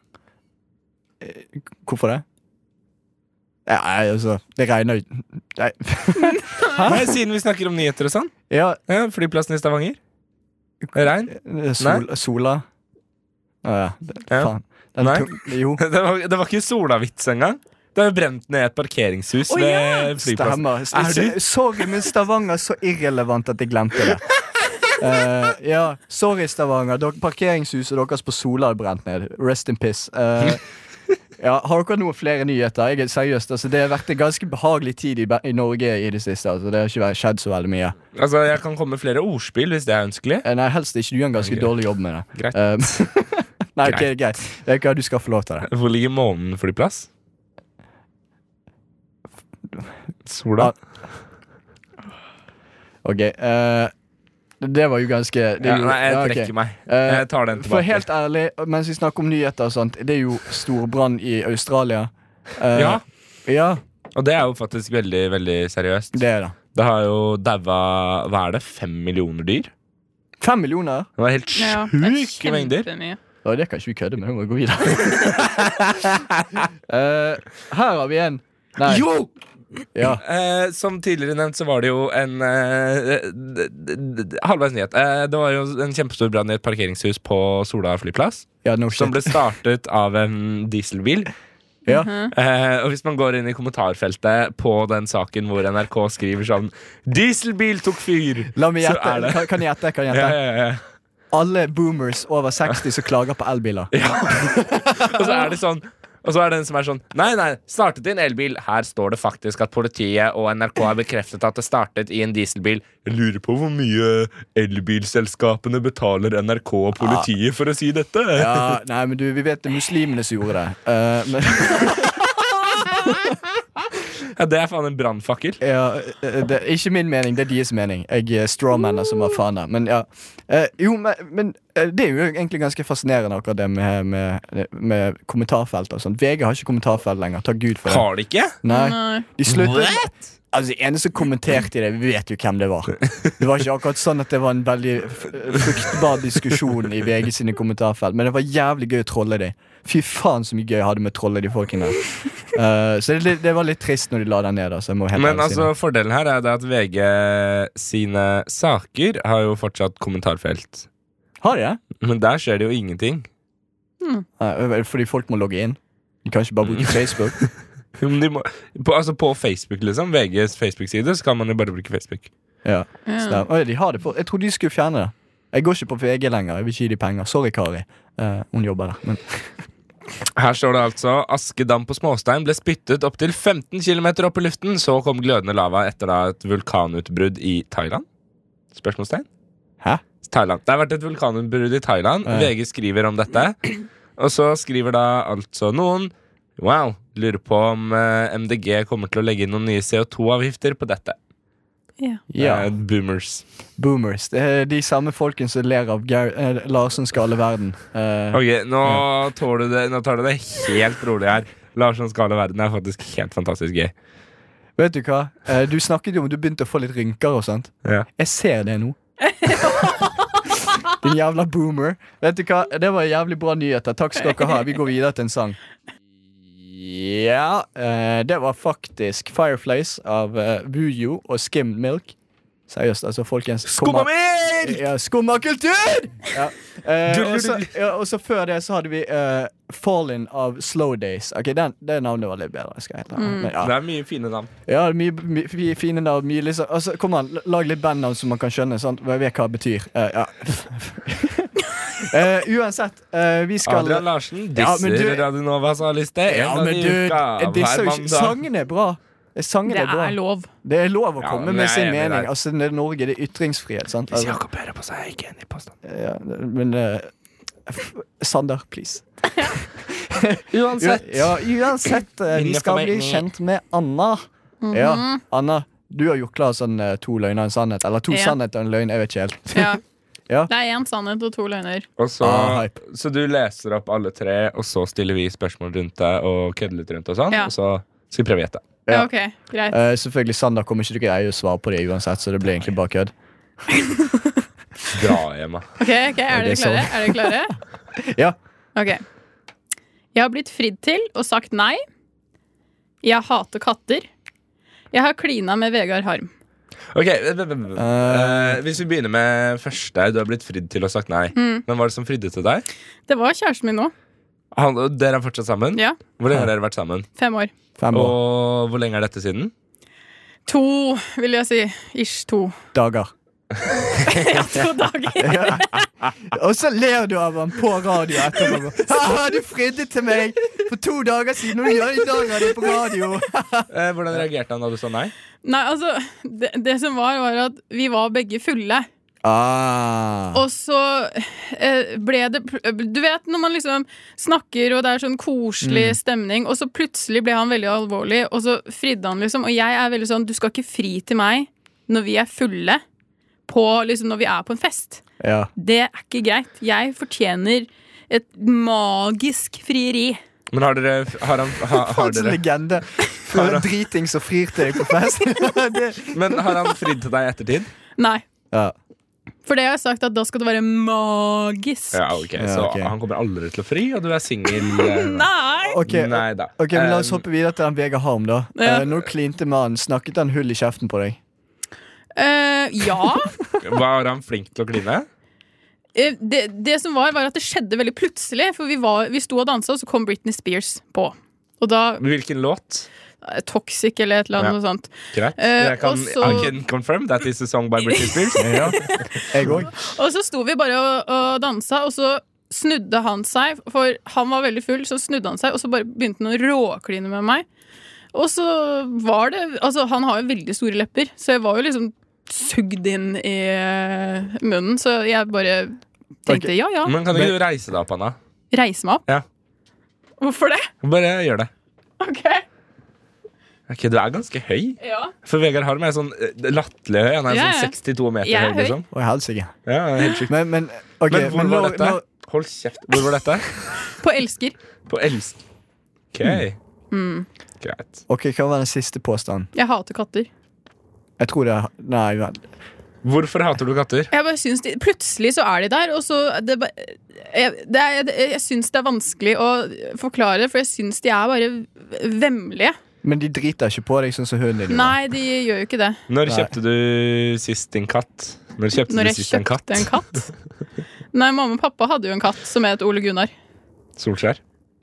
Hvorfor det? Ja, Nei, altså Det regner jo Nei.
Nei, siden vi snakker om nyheter og sånn.
Ja,
Ja, flyplassen i Stavanger. Regn?
eh, sol, sola Å ja. Det,
Ja.
Faen. Den
Nei.
tung- Jo.
Det var, det var ikke solavits engang. Det har jo brent ned et parkeringshus
Å, ja!
ved flyplassen.
Stemmer.
Er du-
S- Sorry, men Stavanger er så irrelevant at jeg glemte det. Eh, ja, sorry, Stavanger. Dere, parkeringshuset deres på Sola er brent ned. Rest in piss. Eh, ja, har dere noen flere nyheter? Jeg er seriøst, altså, Det har vært en ganske behagelig tid i, Be- i Norge i det siste. Altså, det har ikke vært- skjedd så veldig mye.
Altså, Jeg kan komme med flere ordspill hvis det er ønskelig.
Eh, nei, helst ikke. Du gjør en ganske
Greit.
dårlig jobb med det.
Greit.
Eh, nei, ok, greit. Vet du hva, Du skal få lov til det.
Hvor ligger månen flyplass? Sola.
Ah. Ok, eh, Det var jo ganske det
Ja,
gjorde-
nei, jeg
ja, ok.
trekker meg.
Eh,
Jeg tar den
For
tilbake.
helt ærlig, mens vi snakker om nyheter og sånt, det er jo storbrann i Australia. Eh,
Ja,
ja,
og det er jo faktisk veldig veldig seriøst.
det er det.
Det har jo daua Hva er det? Fem millioner dyr?
Fem millioner?
Det var helt
Ja, det er
sjuke mengder.
kjempemye.
Ja, det kan ikke vi kødde med. Vi må gå videre. Eh, her har vi en. Nei.
Jo!
Ja.
Eh, som tidligere nevnt, så var det jo en eh, d- d- d- Halvveis nyhet. Eh, det var jo en kjempestor brann i et parkeringshus på Sola flyplass.
ja, no shit.
Som ble startet av en dieselbil.
ja.
Eh, og hvis man går inn i kommentarfeltet på den saken hvor NRK skriver sånn 'Dieselbil tok fyr',
La meg
så er
gjette.
det
Kan, kan jeg gjette? Kan jeg
ja,
gjette?
ja, ja.
Alle boomers over 60 som klager på elbiler.
Og så er det sånn og så er det en som er sånn Nei, nei, startet i en elbil. Her står det faktisk at politiet og NRK har bekreftet at det startet i en dieselbil. Jeg lurer på hvor mye elbilselskapene betaler NRK og politiet for å si dette.
Ja, nei, men du, vi vet det er muslimene som gjorde det. Eh, men,
Ja, det er faen en brannfakkel.
Ja, eh, det er ikke min mening, det er deres mening. Jeg er strawmanner som er faen her. Men ja. Eh, jo, men, men eh, det er jo egentlig ganske fascinerende, akkurat det med, med, med kommentarfelt og sånt. VG har ikke kommentarfelt lenger. Takk Gud for det.
Har de ikke?
Nei.
Nei.
De sluttet Altså, de eneste som kommenterte det, vi vet jo hvem det var. Det var ikke akkurat sånn at det var en veldig f- eh, fruktbar diskusjon i VG sine kommentarfelt, men det var jævlig gøy å trolle de. Fy faen så mye gøy jeg hadde med å trolle de folkene. Eh, så det, er litt- det var litt trist når de la den ned, altså. Jeg må helt
Men
ærlig si det.
altså, fordelen her er det at VG sine saker har jo fortsatt kommentarfelt.
Har de det?
Men der skjer det jo ingenting.
Nei, Fordi folk må logge inn. De kan ikke bare bruke Facebook.
Jo, men de må, på, altså på Facebook, liksom. VGs Facebook-side, så kan man jo bare bruke Facebook.
Ja, så
Ja.
da- Oi, de har det på. Jeg trodde de skulle fjerne det. Jeg går ikke på VG lenger. Jeg vil ikke gi de penger. Sorry, Kari. Eh, hun jobber der. Men
Her står det altså Askedam på småstein ble spyttet opptil 15 km opp i luften. Så kom glødende lava etter da et vulkanutbrudd i Thailand? Spørsmålstegn?
Hæ?
Thailand. Det har vært et vulkanutbrudd i Thailand.
Ja.
VG skriver om dette. Og så skriver da altså noen Wow, lurer på om eh, MDG kommer til å legge inn noen nye CO2-avgifter på dette.
ja,
Eh, boomers.
boomers. Det er de samme folkene som ler av Gar eh, Larsen skal alle verden. Eh,
Ok, nå, tåler du det, nå tar du det helt rolig her. Larsson skal alle verden er faktisk helt fantastisk gøy.
Vet du hva? Eh, du snakket jo om du begynte å få litt rynker og sånt.
Ja.
Jeg ser det nå. Din jævla boomer. Vet du hva? Det var jævlig bra nyheter. Takk skal dere ha. Vi går videre til en sang. Ja, eh, det var faktisk Fireflies av eh, Vujo og Skim Milk. Seriøst, altså, folkens.
Skumma mer!
Ja, skumma kultur! Ja.
Dull,
Eh,
dull,
og så-
dull.
ja, og så før det så hadde vi eh, Fallen of Slow Days. Ok, den, Det navnet var litt bedre. Skal jeg helt ærlig. Men, ja.
Det er mye fine navn.
Ja, mye, mye fi- fine navn. Mye liksom altså, Kom an, l- lag litt bandnavn som man kan skjønne. Sant? Jeg vet hva det betyr. Eh, ja. Eh, uansett, eh, vi skal
Adrian Larsen
Ja, men
disser
du-
Radio Novas A-liste.
Ja,
en gang
men
i
du,
uka,
disse,
hver
er jo ikke-
mandag.
sangene er bra. Sangene
Det
er bra.
er lov.
Det er lov å
Ja,
komme
men
med
jeg er
sin
enig
mening.
der.
Altså, det er Norge, det er ytringsfrihet. Sant?
Hvis
Altså,
Jakob hører på, så er jeg ikke enig i påstanden.
ja, men eh, f- Sander, please.
Uansett.
U- Ja, uansett, eh, vi
Mine
skal bli
forventninger.
kjent med Anna. Ja, Anna, du har gjort klar sånn eh, to løgner og en sannhet. Eller to
Mhm. Ja.
sannheter og en løgn, jeg vet ikke
Ja.
helt. Ja.
Det er én sannhet og to løgner.
Og så,
Ah, hype.
så du leser opp alle tre, og så stiller vi spørsmål rundt det og kødder litt rundt og sånn.
Ja.
Og så skal vi prøve å gjette.
Ja.
Ja, ok, greit.
Eh, selvfølgelig, Sander kommer ikke til å greie å svare på det uansett, så det blir egentlig bare kødd.
Dra hjem, da.
Ok, ok, Er
det sånn?
dere klare?
er
Er dere klare?
Ja.
Ok. Jeg har blitt fridd til og sagt nei. Jeg hater katter. Jeg har klina med Vegard Harm.
Ok, eh, eh, eh, Hvis vi begynner med første. Du har blitt fridd til og sagt nei.
Mm.
Men hva er det som fridde til deg?
Det var kjæresten min nå.
Han, og dere er fortsatt sammen?
Ja,
Hvor lenge har dere vært sammen?
Fem år.
Fem år.
Og hvor lenge er dette siden?
To, vil jeg si. Ish to.
Eh,
dager.
Ja, to dager.
Og så ler du av ham på radio etterpå. Haha, du fridde til meg for to dager siden, og i dag er du på radio.
Eh, hvordan reagerte han da du sa nei?
Nei, altså, det, det som var, var at vi var begge fulle.
Ah.
Og så eh, ble det pl- Du vet når man liksom snakker, og det er sånn koselig stemning, og så plutselig ble han veldig alvorlig, og så fridde han, liksom. Og jeg er veldig sånn Du skal ikke fri til meg når vi er fulle, på, liksom, når vi er på en fest.
Ja.
Det er ikke greit. Jeg fortjener et magisk frieri.
Men har dere Har, han, ha, har,
en
dere,
legende. For en driting som frir til deg på fest. det.
men har han fridd til deg i ettertid?
Nei.
Ja.
For det har jeg sagt at da skal det være magisk.
Ja, ok
Ja,
Så
ok.
han kommer aldri til å fri, og du er singel?
Nei!
Ok, eh,
Nei da.
ok, men La oss
Eh,
hoppe videre til han Vegard Harm. da
Ja.
Eh, Når du klinte med han, snakket han hull i kjeften på deg?
Eh, ja.
Var han flink til å kline?
Eh, det, det som var, var at det skjedde veldig plutselig. For vi, var, vi sto og dansa, og så kom Britney Spears på. Og da
Hvilken låt?
eh, Toxic eller et eller annet
Ja.
noe sånt.
Greit.
Eh,
Jeg kan,
og så-
I can confirm that is a song by Britney Spears.
Ja, jeg òg.
Og så sto vi bare og, og dansa, og så snudde han seg, for han var veldig full, så snudde han seg, og så bare begynte han å råkline med meg. Og så var det Altså, han har jo veldig store lepper, så jeg var jo liksom sugd inn i eh, munnen, så jeg bare tenkte ja, ja,
Men kan ikke du reise deg opp, Anna?
reise meg opp.
Ja.
Hvorfor det?
Bare gjør det.
OK.
Ok, Du er ganske høy.
Ja.
For Vegard Harm er sånn eh, latterlig høy. Han er
Ja, ja.
sånn 62 meter
Jeg
høy.
er høy.
liksom
Å, helsike.
ja, han er helt sjukt.
Men, men, ok,
Men hvor
men
var
nå-
dette?
nå-
Hold kjeft. Hvor var dette?
På elsker.
På Elst. Ok.
Hmm.
Hmm.
Greit.
ok, Hva var den siste påstanden?
Jeg hater katter.
Jeg tror det er Nei, vent.
Hvorfor hater du katter?
Jeg bare syns de, Plutselig så er de der, og så det, ba- jeg, det er, jeg, jeg syns det er vanskelig å forklare, for jeg syns de er bare v- vemmelige.
Men de driter ikke på deg, sånn som hunden din. gjorde.
Nei, de gjør jo ikke det.
Når
Nei.
kjøpte du sist din katt? Når kjøpte
Når
du
jeg
sist en katt?
kjøpte en katt. Nei, mamma og pappa hadde jo en katt som het Ole Gunnar.
Solskjær.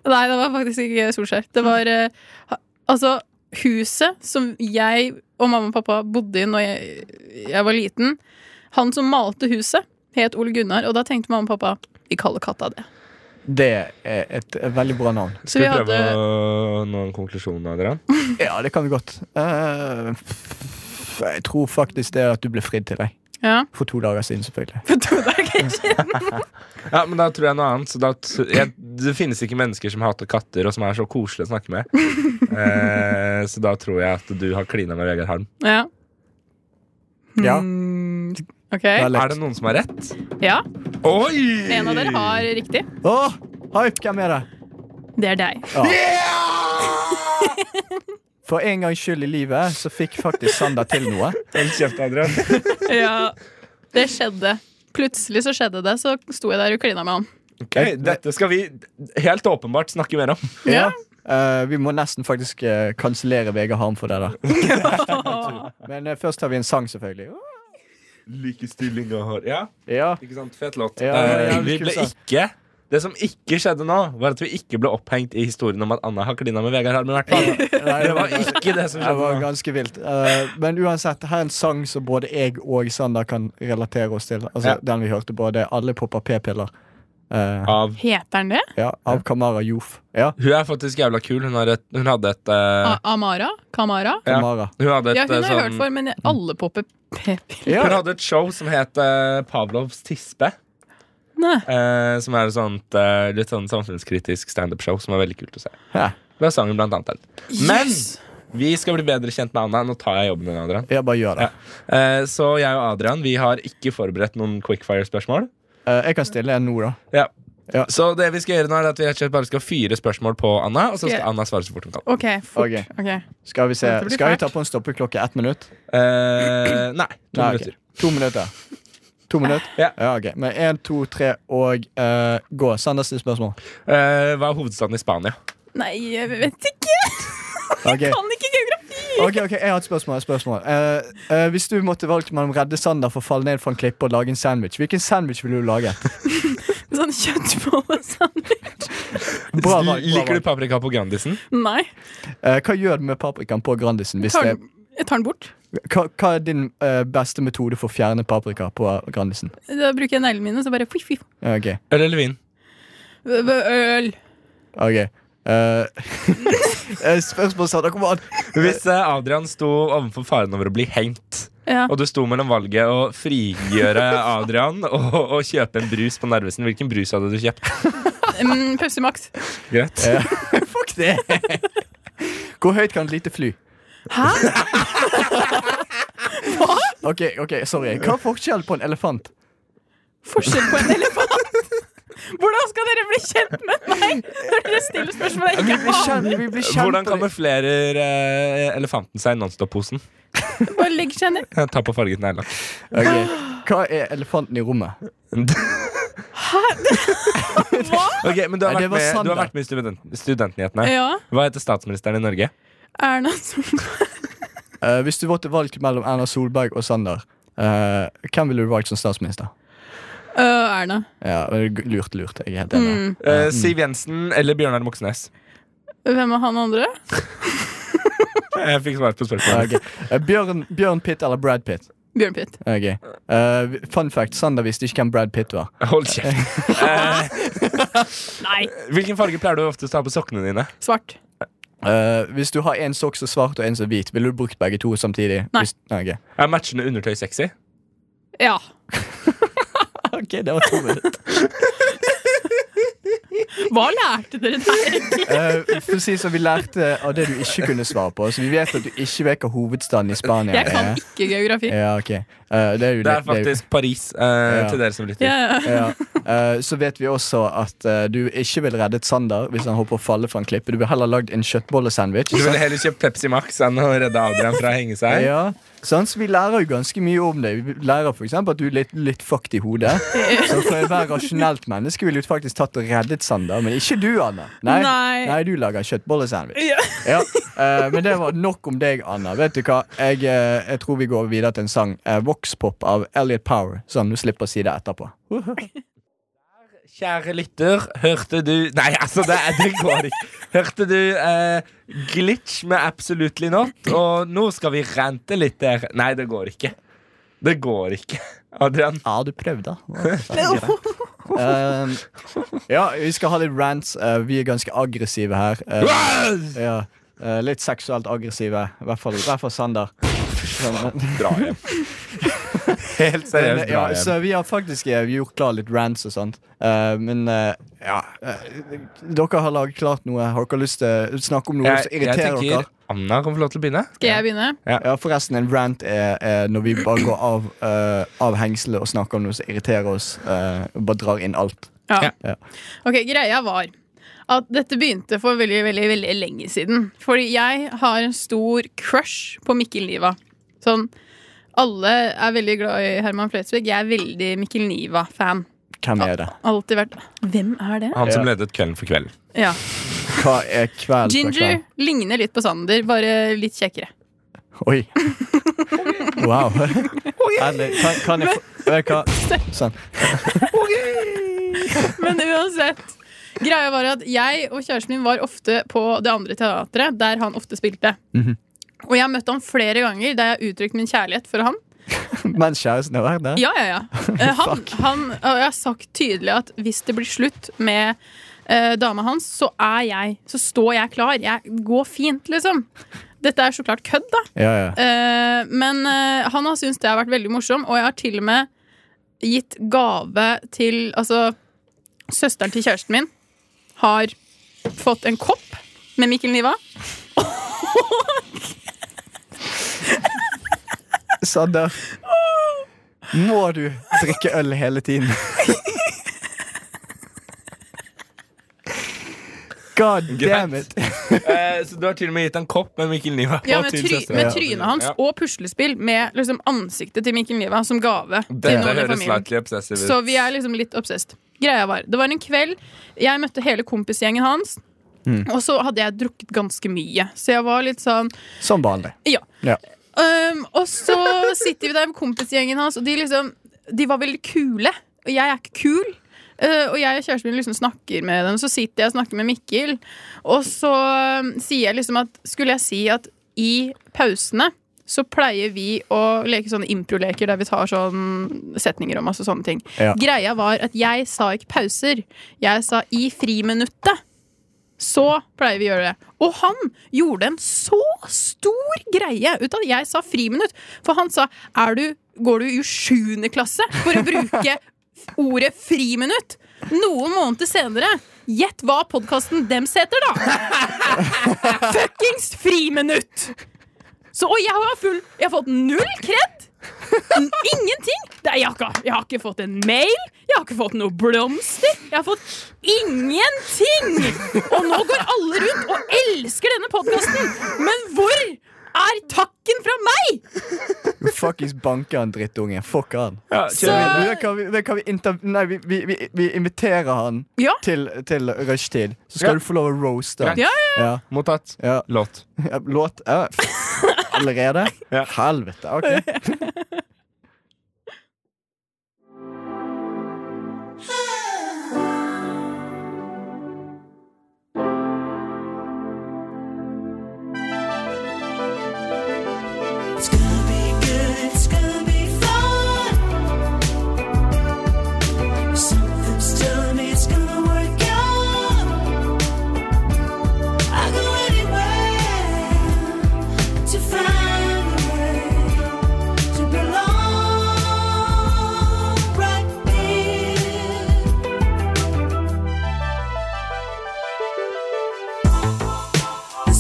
Nei, det var faktisk ikke Solskjær. Det var eh, ha- Altså, huset som jeg og mamma og pappa bodde i når jeg, jeg var liten Han som malte huset, het Ole Gunnar, og da tenkte mamma og pappa vi kaller katta det.
Det er et veldig bra navn.
Så
Skal
vi
vi prøve
hadde
å nå en konklusjon, Adrian?
Ja, det kan vi godt. Eh, jeg tror faktisk det er at du ble fridd til deg.
Ja.
For to dager siden, selvfølgelig.
For to dager siden.
Ja, men da tror jeg noe annet. Så da t jeg, det finnes ikke mennesker som hater katter, og som er så koselige å snakke med. Eh, så da tror jeg at du har klina med Vegard Harm.
Ja.
Ja.
Mm, OK.
Det er
Er
lett.
det noen som har rett?
Ja,
Oi!
en av dere har riktig.
Åh, hype, hvem er det?
Det er deg.
Ja. For en gangs skyld i livet så fikk faktisk Sander til noe.
Hold kjeft, Adrian.
Ja. Det skjedde. Plutselig så skjedde det, så sto jeg der og klina med han.
Ok, dette skal vi helt åpenbart snakke mer om.
Ja. Eh, vi må nesten faktisk eh, kansellere VG Harm for det der. Men eh, først har vi en sang, selvfølgelig.
Likestillinga har Ja,
Ja,
ikke sant? Fet låt.
Ja, ja, altså. ja,
Eh, vi
skulle
ble
sagt.
ikke Det som ikke skjedde nå, var at vi ikke ble opphengt i historien om at Anna har klina med Vegard Harm, i hvert fall.
nei,
Det var ikke det som
det var
skjedde. nå.
ganske vilt. Eh, men uansett, her er en sang som både jeg og Sander kan relatere oss til. Altså
Ja.
Den vi hørte på, det er 'Alle popper p-piller' eh,
Av
Heter den det?
ja, av Kamara Jof. Ja,
Hun er faktisk jævla kul. Hun, har et, hun hadde et eh,
A Amara? Kamara?
Ja.
Kamara.
Hun hadde et,
Ah. Ja, hun
eh,
har jeg
sånn-
hørt for, men alle popper p-piller.
Ja.
Hun hadde et show som het eh, Pavlovs tispe. eh, som er et sånt eh, litt sånn samfunnskritisk standup-show som er veldig kult å se.
Ja.
Da sang hun blant annet den. Men vi skal bli bedre kjent med Anna. Nå tar jeg jobben din, Adrian.
Ja, bare gjør det.
Ja. Eh, så jeg og Adrian vi har ikke forberedt noen quickfire-spørsmål.
Eh, jeg kan stille en nå, da.
Ja.
Ja.
Så det vi skal gjøre nå er at vi rett og slett bare skal fyre spørsmål på Anna, og så skal
Ja.
Anna svare så fort hun kan.
OK, fort.
Ok.
Ok.
Skal vi se.
Dette blir
Skal vi
fælt.
ta på en stoppeklokke ett minutt?
Eh, nei. To
Nei, ok.
minutter.
To minutter. To minutter?
Ja.
ok. Men én, to, tre og eh, gå. Sander stiller spørsmål.
Eh, hva er hovedstaden i Spania?
Nei, jeg vet ikke!
Ok.
Kan ikke geografi!
Ok, ok, Jeg har et spørsmål. Et spørsmål. Eh, eh, hvis du måtte valgt mellom å redde Sander for å falle ned fra en klippe og lage en sandwich, hvilken sandwich ville du laget?
Sånn kjøttbolle sånn.
Bra valg, bra
Liker du
valg.
paprika på Grandisen?
Nei.
Eh, hva gjør du med paprikaen på Grandisen? Hvis
Tar
det,
den, jeg tar den bort.
hva, hva er din eh, beste metode for å fjerne paprika på Grandisen?
Da bruker jeg neglene mine, så bare fiff, fiff.
Ja, Ok,
Øl eller vin?
Ø- ø- Øl.
ok Eh, eh, Spørsmål, Sander. Kom an!
Hvis eh, Adrian sto overfor faren over å bli hengt,
Ja.
og du sto mellom valget å frigjøre Adrian og, og kjøpe en brus på Narvesen, hvilken brus hadde du kjøpt? Eh,
Mm, Pepsi Max.
Greit.
Fuck det! Hvor høyt kan et lite fly?
Hæ?
Ok, ok, sorry. Hva er forskjellen på en elefant?
Forskjell på en elefant? Hvordan skal dere bli kjent med meg når dere stiller spørsmål jeg
Vi
ikke
blir
har?
kjent, vi blir kjent
Hvordan
på det.
kamuflerer eh, elefanten seg i Nonstop-posen? Eh,
Bare legg seg ned.
Ta på farget neglelakk.
Ok, Hva er elefanten i rommet?
Hva?
Ok, men du har
Nei, det
vært
var
med,
sand,
du har
da.
vært med i student, Studentnyhetene.
Ja,
Hva heter statsministeren i Norge?
Erna Solberg.
Eh, hvis du måtte valgt mellom Erna Solberg og Sander, eh, hvem ville du valgt som statsminister?
Ø, Erna.
Ja, men g- Lurt, lurt. Jeg er helt enig.
Mm.
Eh, Siv Jensen eller Bjørnar Moxnes?
Hvem er han andre?
Jeg fikk svar på
Ja,
spørsmålet.
ok. Eh, Bjørn, Bjørn Pitt eller Brad Pitt?
Bjørn Pitt.
Ok. Eh, fun fact, Sander visste ikke hvem Brad Pitt var.
Hold kjeft. Eh,
Nei.
Hvilken farge pleier du oftest å ha på sokkene dine?
Svart.
Eh, hvis du har en sokk som er svart og en som er hvit, ville du brukt begge to samtidig?
Nei.
Hvis, Nei, ok.
Er matchende undertøy sexy?
Ja.
ok, det var to minutter.
Hva lærte dere der?
Eh, for å si som vi lærte av det du ikke kunne svare på, så vi vet at du ikke vet hva hovedstaden i Spania
Jeg kan
er.
ikke geografi.
Ja, ok. Eh, det er jo
Det er
litt- jo-
faktisk Paris, eh,
Ja.
til dere som lytter.
Ja, ja.
Ja. Eh, så vet vi også at eh, du ikke vil reddet Sander hvis han hopper og faller fra en klippe. Du vil heller lagd en kjøttbollesandwich.
Du ville heller kjøpt Pepsi Max enn å redde Adrian fra å henge seg.
Ja, sant? Så vi lærer jo ganske mye om det. Vi lærer f.eks. at du er litt, litt fucked i hodet. Så for ethvert rasjonelt menneske ville du faktisk tatt og reddet Sander, men ikke du, Anna. Nei,
Nei.
du lager kjøttbollesandwich.
Ja.
Ja. eh, men det var nok om deg, Anna. Vet du hva? Jeg, eh, jeg tror vi går videre til en sang. eh, Voxpop av Elliot Power, sånn du slipper å si det etterpå.
Kjære lytter, hørte du Nei, altså, det, er- det går ikke. Hørte du eh, Glitch med Absolutely Not? Og nå skal vi rente litt der. Nei, det går ikke. Det går ikke. Adrian.
Ja, du prøvde. Um, ja, vi skal ha litt rants. Eh, vi er ganske aggressive her. Eh, ja. Eh, litt seksuelt aggressive. I hvert fall, i hvert fall Sander.
Dra hjem. Helt seriøst, dra
Ja,
hjem.
så vi har faktisk eh, gjort klar litt rants og sånt. Eh, men eh, ja eh, Dere har laget klart noe. Har dere lyst til å snakke om noe
Jeg,
som
jeg
irriterer dere?
tenker Anna kan få lov til å begynne.
Skal jeg begynne?
Ja, Forresten, en rant er, er når vi bare går av, eh, av hengselet og snakker om noe som irriterer oss. eh, og bare drar inn alt.
Ja.
Ja.
Ok, greia var at dette begynte for veldig, veldig, veldig lenge siden. Fordi jeg har en stor crush på Mikkel Niva. Sånn, alle er veldig glad i Herman Flesvig. Jeg er veldig Mikkel Niva-fan.
Hvem er det?
Alltid vært Hvem er det?
Han som
Ja.
ledet Kvelden for kvelden.
Ja.
Hva er kveld for
Ginger
kveld?
ligner litt på Sander, bare litt kjekkere.
Oi. Wow. Herlig. Kan, kan jeg få Vet du hva? Sånn.
Men uansett. Greia var at jeg og kjæresten min var ofte på det andre teatret, der han ofte spilte.
Mhm.
Og jeg møtte han flere ganger der jeg uttrykte min kjærlighet for han.
Mens kjæresten har vært der?
Ja, ja, ja. Eh, Han, han, og jeg har sagt tydelig at hvis det blir slutt med eh, dama hans, så er jeg Så står jeg klar. Jeg går fint, liksom. Dette er så klart kødd, da.
Ja, ja.
Eh, men eh, han har syntes det har vært veldig morsom, og jeg har til og med gitt gave til Altså, søsteren til kjæresten min har fått en kopp med Mikkel Niva.
Sander. Må du drikke øl hele tiden? God damn it.
Eh, så du har til og med gitt en kopp med Mikkel Niva på
Ja, med,
til
try,
søsteren.
med trynet hans
Ja.
og puslespill med liksom, ansiktet til Mikkel Niva som gave.
Dette
til noen i
høres
familien.
slightly obsessive ut.
Så vi er liksom litt obsessed. Greia var, Det var en kveld jeg møtte hele kompisgjengen hans. Og så hadde jeg drukket ganske mye, så jeg var litt sånn
Som vanlig.
Ja.
Ja.
Um, og så sitter vi der med kompisgjengen hans, og de liksom De var veldig kule. Og jeg er ikke kul. Uh, og jeg og kjæresten min liksom snakker med dem, så sitter jeg og snakker med Mikkel. Og så um, sier jeg liksom at Skulle jeg si at i pausene så pleier vi å leke sånne improleker der vi tar sånn setninger om oss og sånne ting.
Ja.
Greia var at jeg sa ikke pauser. Jeg sa i friminuttet. Så pleier vi å gjøre det. Og han gjorde en så stor greie ut av at jeg sa friminutt. For han sa er du, går du i sjuende klasse for å bruke ordet friminutt? Noen måneder senere, gjett hva podkasten dems heter, da! Fuckings friminutt! Så, og jeg har, full, jeg har fått null kred! N- Ingenting! Det er, jeg, har ikke, jeg har ikke fått en mail, jeg har ikke fått noe blomster. Jeg har fått ingenting! Og nå går alle rundt og elsker denne podkasten! Men hvor er takken fra meg?!
Du fuckings banker han drittungen. Fuck han.
Ja,
Så-
kjør videre.
Vet du hva vi, vet du hva vi, inter nei, vi, vi, vi, vi inviterer han
Ja.
til, til rushtid. Så
Ja.
skal du få lov å roaste. han.
Greit.
Ja,
Ja,
Mottatt.
ja.
Låt.
Ja, Låt ja. f- Allerede?
Ja.
Helvete. OK.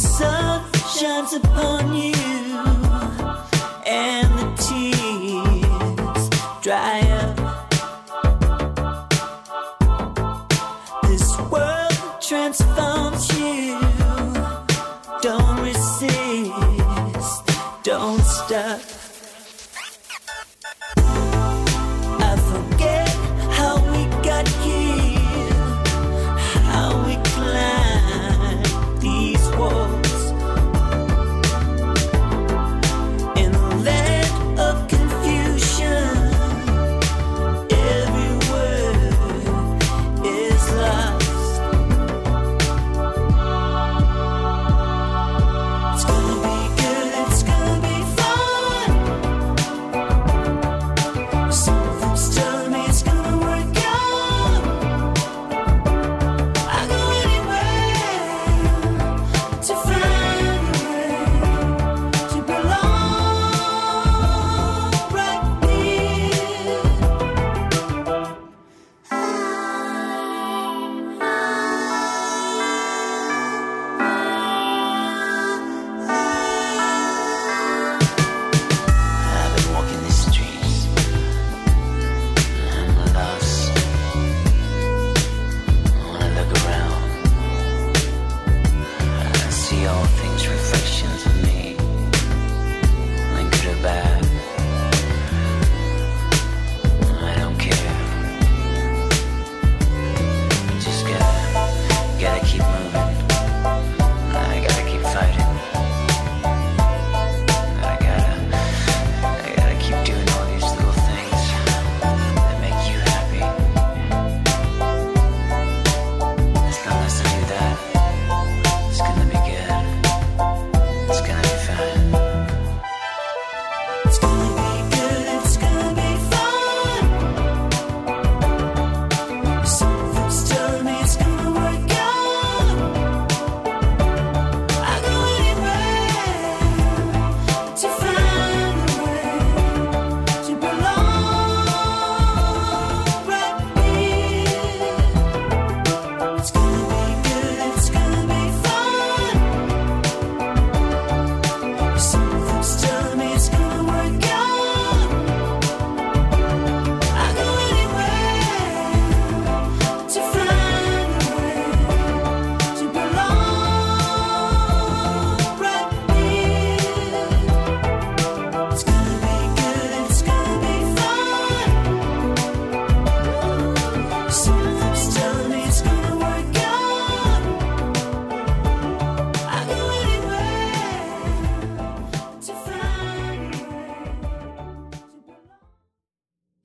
Shines upon you and the tears dry up. This world transforms you. Don't resist, don't stop. I forget how we got here, how we climbed these walls. In the land of confusion, every word is lost. It's gonna be good, it's gonna be fun.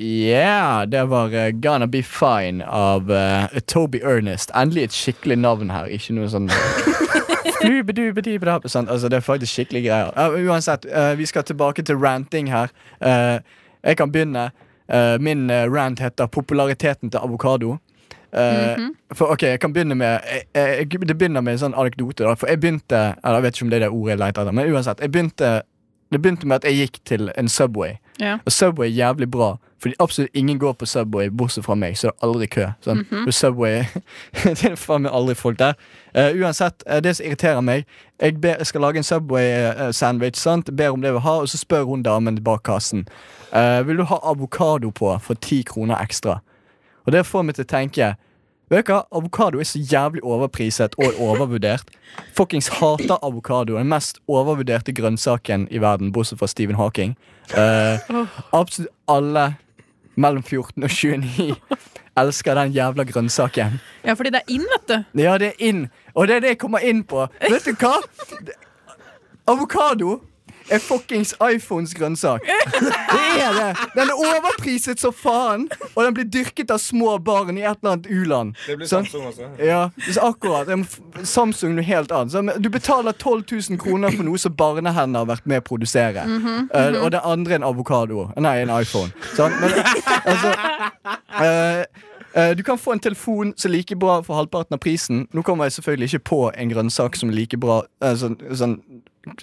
Yeah, det var eh, Gonna Be Fine av eh, Toby Ernest. Endelig et skikkelig navn her, ikke noe sånn Flubedubedibedab, sant? Altså, Det er faktisk skikkelig greier. Ja, men uansett, eh, vi skal tilbake til ranting her. Eh, jeg kan begynne. Eh, min eh, rant heter 'Populariteten til avokado'. Eh, For ok, jeg kan begynne med jeg, jeg, Det begynner med en sånn anekdote. da For jeg begynte Eller jeg vet ikke om det er det ordet jeg leter etter, men uansett. Jeg begynte, det begynte med at jeg gikk til en Subway.
Ja.
Og Subway er jævlig bra, fordi absolutt ingen går på Subway bortsett fra meg. Så det er aldri kø. Sånn. Og Subway Det er faen meg aldri folk der. Eh, uansett, eh, det som irriterer meg Jeg, ber, jeg skal lage en Subway-sandwich, sant? ber om det jeg vil ha, og så spør hun damen bak kassen eh, Vil du ha avokado på for ti kroner ekstra. Og det får meg til å tenke Vet dere, hva? Avokado er så jævlig overpriset og overvurdert. Fuckings hater avokado. Den mest overvurderte grønnsaken i verden, bortsett fra Stephen Hawking. Eh, Absolutt alle mellom 14 og 29 elsker den jævla grønnsaken.
Ja, fordi det er inn, vet du.
Ja, det er inn, og det er det jeg kommer inn på. Vet du hva? Det- Avokado er fuckings iPhones grønnsak. Det er det. Den er overpriset så faen, og den blir dyrket av små barn i et eller annet u-land. Sånn?
også.
Ja, så akkurat. Jeg må f- Samsung noe helt annet. Så, men Du betaler 12 000 kroner for noe som barnehender har vært med å produsere. Eh, og det andre er en avokado. Eh, Nei, en iPhone. Sant? Men, altså, eh, eh, du kan få en telefon som er like bra for halvparten av prisen. Nå kommer jeg selvfølgelig ikke på en grønnsak som er like bra eh, sånn, sånn,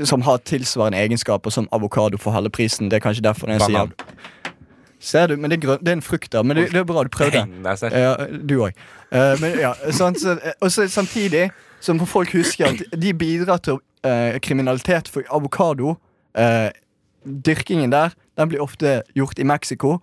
Som har tilsvarende egenskaper som avokado for halve prisen. Det er kanskje derfor jeg sier
Banan.
Ser du, men det er, grønn, det er en frukt der. Men det, det er bra du prøvde.
Heng deg selv.
Ja, Eh, du òg. men ja, sant, så, eh, og så samtidig så må folk huske at de bidrar til eh, kriminalitet for avokado. eh, dyrkingen der Den blir ofte gjort i Mexico.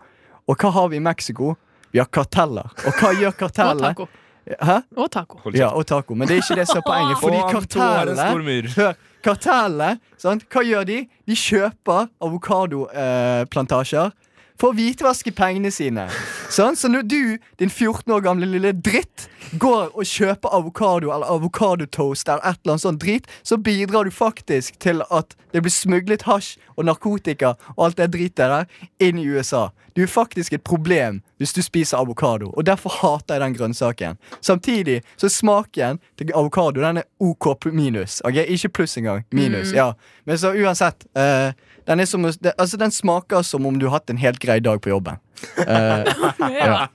Og hva har vi i Mexico? Vi har karteller. Og hva gjør
Og
kartellene?
taco.
Hæ?
Og taco.
Ja, og taco. Men det er ikke det som er poenget. Fordi
Og Anto har en stor
kartellene
mur.
Hør, kartellene, sant? hva gjør de? De kjøper avokadoplantasjer eh, plantasjer for å hvitvaske pengene sine. Sant? Så når du, din 14 år gamle lille dritt, går og kjøper avokado eller avokadotoast eller et eller annet sånt drit, så bidrar du faktisk til at det blir smuglet hasj og narkotika og alt det dritet der inn i USA. Du er faktisk et problem hvis du spiser avokado, og derfor hater jeg den grønnsaken. Samtidig så er smaken til avokado den er OK minus. ok? Ikke pluss engang. Minus. ja. Men så uansett eh, den, er som, å- det, altså, den smaker som om du har hatt en helt grei dag på jobben. Eh, ja.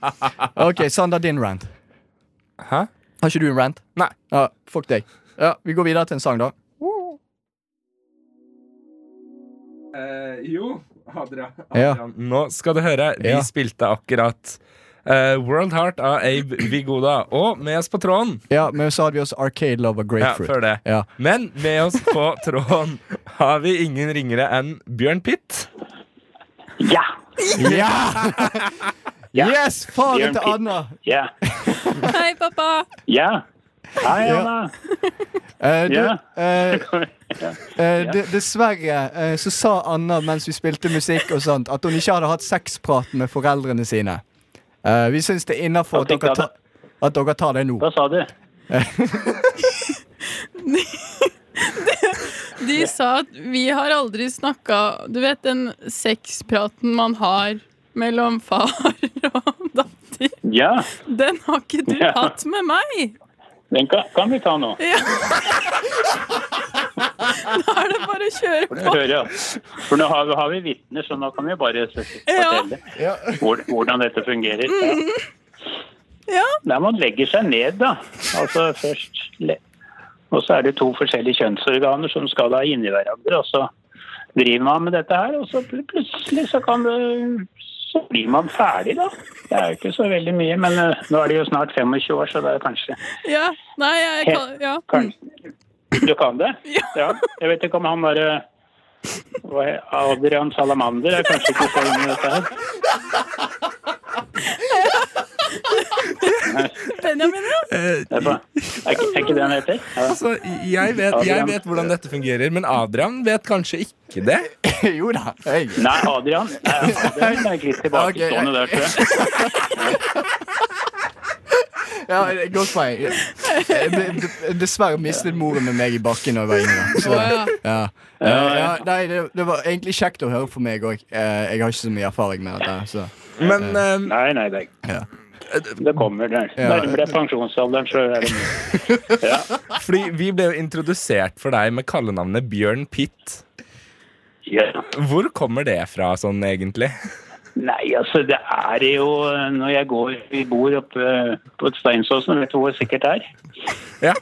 OK, Sander, din rant.
Hæ?
Har ikke du en rant?
Nei.
Ja, fuck deg. Ja, Vi går videre til en sang, da.
jo, Adrian.
Adrian.
Nå skal du høre. Vi
Ja.
spilte akkurat eh, World Heart av Abe Vigoda. Og med oss på tråden
Ja, Men så hadde vi også Arcade Love og
Ja,
Grapefruit.
før det.
Ja.
Men med oss på tråden har vi ingen ringere enn Bjørn Pitt.
Ja!
Ja! Yes! Faren
Bjørn
til
Pitt.
Anna.
Ja!
Hei, pappa!
ja. Hei,
Ja.
Anna!
Eh, du,
Ja.
eh, eh, d- dessverre eh, så sa Anna mens vi spilte musikk og sånt, at hun ikke hadde hatt sexprat med foreldrene sine. Eh, vi syns det er innafor
At
at,
ikke
dere ta- at dere tar det nå.
Hva sa du?
De sa at vi har aldri snakka Du vet den sexpraten man har mellom far og datter?
Ja,
Den har ikke du
Ja.
hatt med meg!
den kan, kan vi ta nå.
Da er det bare å kjøre
For,
på.
nå hører jeg- for nå har, vi- har vi vitner, så nå kan vi bare s- fortelle
Ja. Mm.
hvor- hvordan dette fungerer. Ja.
Ja.
Nei, man legger seg ned, da. Altså først le- Og så er det to forskjellige kjønnsorganer som skal da inn i hverandre, og så driver man med dette her, og så pl- plutselig så kan det så blir man ferdig, da. Det er jo ikke så veldig mye, men eh, nå er de jo snart 25 år, så det er kanskje
Ja. Nei, jeg kan Ja.
Kanskje. Du kan det?
Ja.
Jeg vet ikke om han derre hva he- Adrian Salamander er kanskje ikke sånn med dette her.
Benjamin, ja.
Det Er, bare- er, ikke- er ikke det han heter? Ja.
Altså, jeg vet, jeg
Adrian.
vet hvordan dette fungerer, men Adrian vet kanskje ikke det.
jo da. Jeg.
Nei, Adrian. Nei, Adrian er ikke litt tilbakestående der, tror jeg.
Ja, det er godt poeng. Jeg ble- d- Dessverre mistet moren med meg i bakken da jeg var yngre. Så,
Å,
ja. Eh, ja, nei, det, det var egentlig kjekt å høre for meg òg. Jeg har ikke så mye erfaring med dette. Så.
Men eh,
Nei, nei, det,
Ja.
det kommer. Det.
Ja.
Nærmere pensjonsalderen så er det
fordi vi ble jo introdusert for deg med kallenavnet Bjørn Pitt.
ja.
Hvor kommer det fra sånn egentlig?
Nei, altså det er jo Når jeg går i bord oppe på Steinsåsen, vet du hvor det sikkert er?
Ja.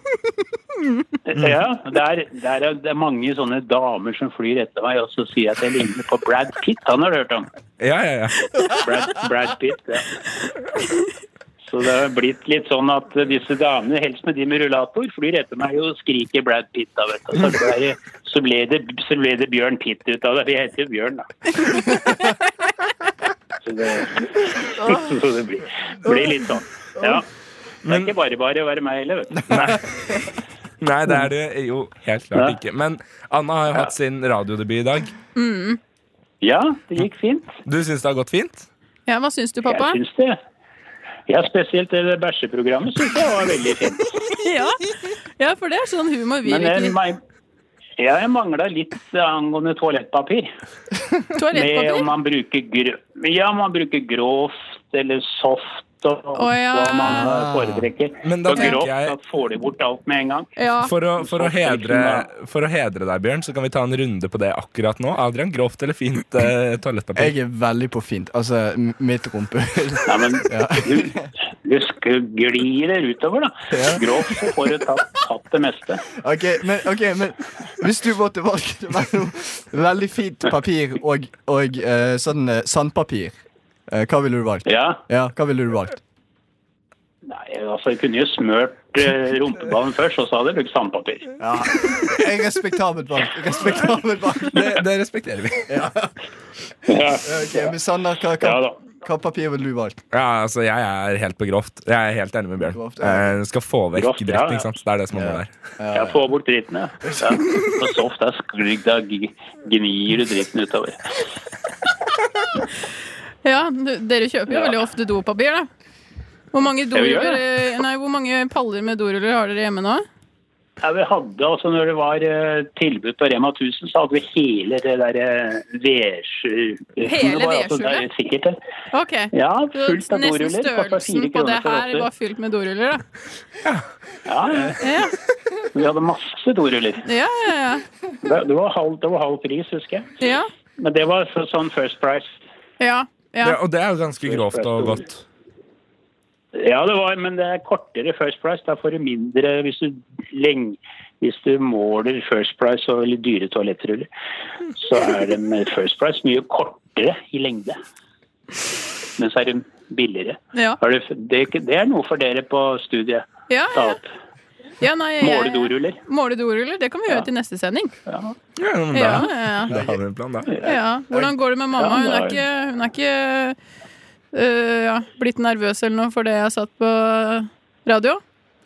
Mm.
Ja, der, der er det er mange sånne damer som flyr etter meg og så sier jeg at jeg ligner på Brad Pitt. Han har du hørt om.
Ja, ja, ja.
Brad, Brad Pitt, ja. Så det har blitt litt sånn at disse damene, helst med de med rullator, flyr etter meg og skriker Brad Pitt. da, vet du. Så ble det, så ble det, så ble det Bjørn Pitt ut av det. Vi heter jo Bjørn, da. Så det, så det blir, blir litt sånn. Ja. Det er ikke bare bare å være meg heller, vet du.
Nei, det er det jo helt klart
Ja.
ikke. Men Anna har jo hatt sin radiodebut i dag.
Ja, det gikk fint.
Du syns det har gått fint?
Ja, hva syns du, pappa?
Jeg syns det. Ja, spesielt det der bæsjeprogrammet syns jeg var veldig fint.
Ja. ja, for det er sånn humor vi
Men
liker.
jeg,
litt.
meg- jeg mangla litt angående toalettpapir. Med om
Toalettpapir?
man bruker, gr ja, om man bruker grovt eller soft og
Å, ja.
hva man eh, foretrekker.
Ah. Men da
Så
tenker
grovt,
jeg-
da får de bort alt med en gang.
Ja.
For å, for, å hedre, for å hedre deg, Bjørn, så kan vi ta en runde på det akkurat nå. Adrian, grovt eller fint eh, toalettpapir?
Jeg er veldig på fint. Altså, m- mitt rumpehull.
Nei, men du, du sk- glir det utover, da. Grovt så får du tatt, tatt det meste.
Ok, men, ok, men hvis du måtte valgt mellom veldig fint papir og, og eh, sånn eh, sandpapir, eh, hva ville du valgt?
Ja.
Ja, hva ville du valgt?
Nei, altså, jeg kunne jo smørt eh, rumpeballen først, og så hadde jeg brukt sandpapir.
Ja. Eh, Respektabelt valgt. Respektabelt valgt.
Det, det respekterer vi.
Ja,
Ok, men Sander, hva,
ja
hva,
da.
hva papir ville du valgt?
Ja, altså, jeg er helt på grovt. Jeg er helt enig med Bjørn.
Grovt, ja.
Eh, skal få vekk
Grovt, ja,
dritten,
ja.
ikke sant? Det er det som er målet der.
Jeg får bort dritten, jeg. Ja. Og soft er skrygg, da g- gnir du dritten utover.
ja du, dere kjøper jo
Ja.
veldig ofte dopapir, da. Hvor mange,
vi gjør
doruller, eh, nei, hvor mange paller med doruller har dere hjemme nå?
Ja, vi hadde altså, når det var eh, tilbud på Rema 1000, så hadde vi hele det der eh, vedskjulet.
Hele
Det var altså
vedskjulet?
der Sikkert det.
Ok.
Ja,
Så
fullt
nesten
av doruller. Kostet
størrelsen
fire
på det
kroner for
her
åtte.
var fylt med doruller, da.
Ja, ja.
Ja,
vi hadde masse doruller.
ja, ja. ja.
Det det var halv, det var halv pris, husker jeg.
ja.
Men det var så, sånn first price.
ja. ja.
Det, og det er jo ganske grovt og godt.
Ja, det var, men det er kortere first price. Da får du mindre hvis du, leng, hvis du måler first price og litt dyre toalettruller. Så er det med first price mye kortere i lengde. Men så er det billigere.
ja.
Har du, det, er ikke- det er noe for dere på studiet.
ja,
Ta
ja.
opp.
ja nei, jeg-
Måle doruller.
Måle doruller, det kan vi gjøre til neste sending.
Ja, men da,
Ja, ja, ja.
da har vi en plan, da.
Ja, Hvordan går det med mamma? Hun er
nei.
ikke, hun er ikke øh, ja, blitt nervøs eller noe for det jeg satt på radio?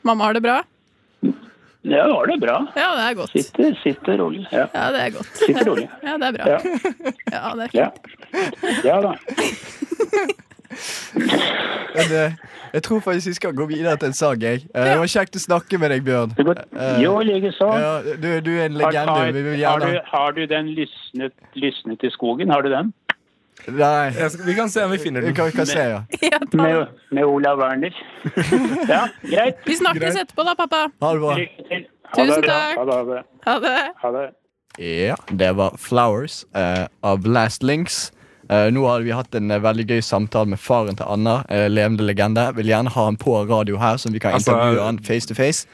Mamma har det bra?
Ja, var det bra.
Ja, det er godt.
Sitter, sitter rolig. Ja,
Ja, det er godt.
sitter rolig.
Ja, det er bra.
Ja.
Ja, det er fint.
Ja. ja da.
Men, eh, jeg tror faktisk vi skal gå videre til en sang. Jeg. Eh, det var kjekt å snakke med deg, Bjørn. Eh,
Det går, jo, likeså.
Ja, du, du er en
Har,
legende. Vi vil
har, har, du,
gjerne
har du den lysnet, lysnet i skogen? Har du den?
Nei.
Jeg skal, vi kan se om vi finner
Vi
den.
kan, kan se, ja.
Med, med Olav Werner. Ja, greit.
Vi snakkes etterpå, da, pappa.
Ha det bra.
Lykke til.
Tusen takk.
Ha det. Ha det.
Ha det.
Ha det.
Ja, det var Flowers eh, av Last Links. Eh, nå har vi hatt en eh, veldig gøy samtale med faren til Anna, eh, levende legende. Vil gjerne ha han på radio her, så vi kan
Altså,
intervjue han face to face.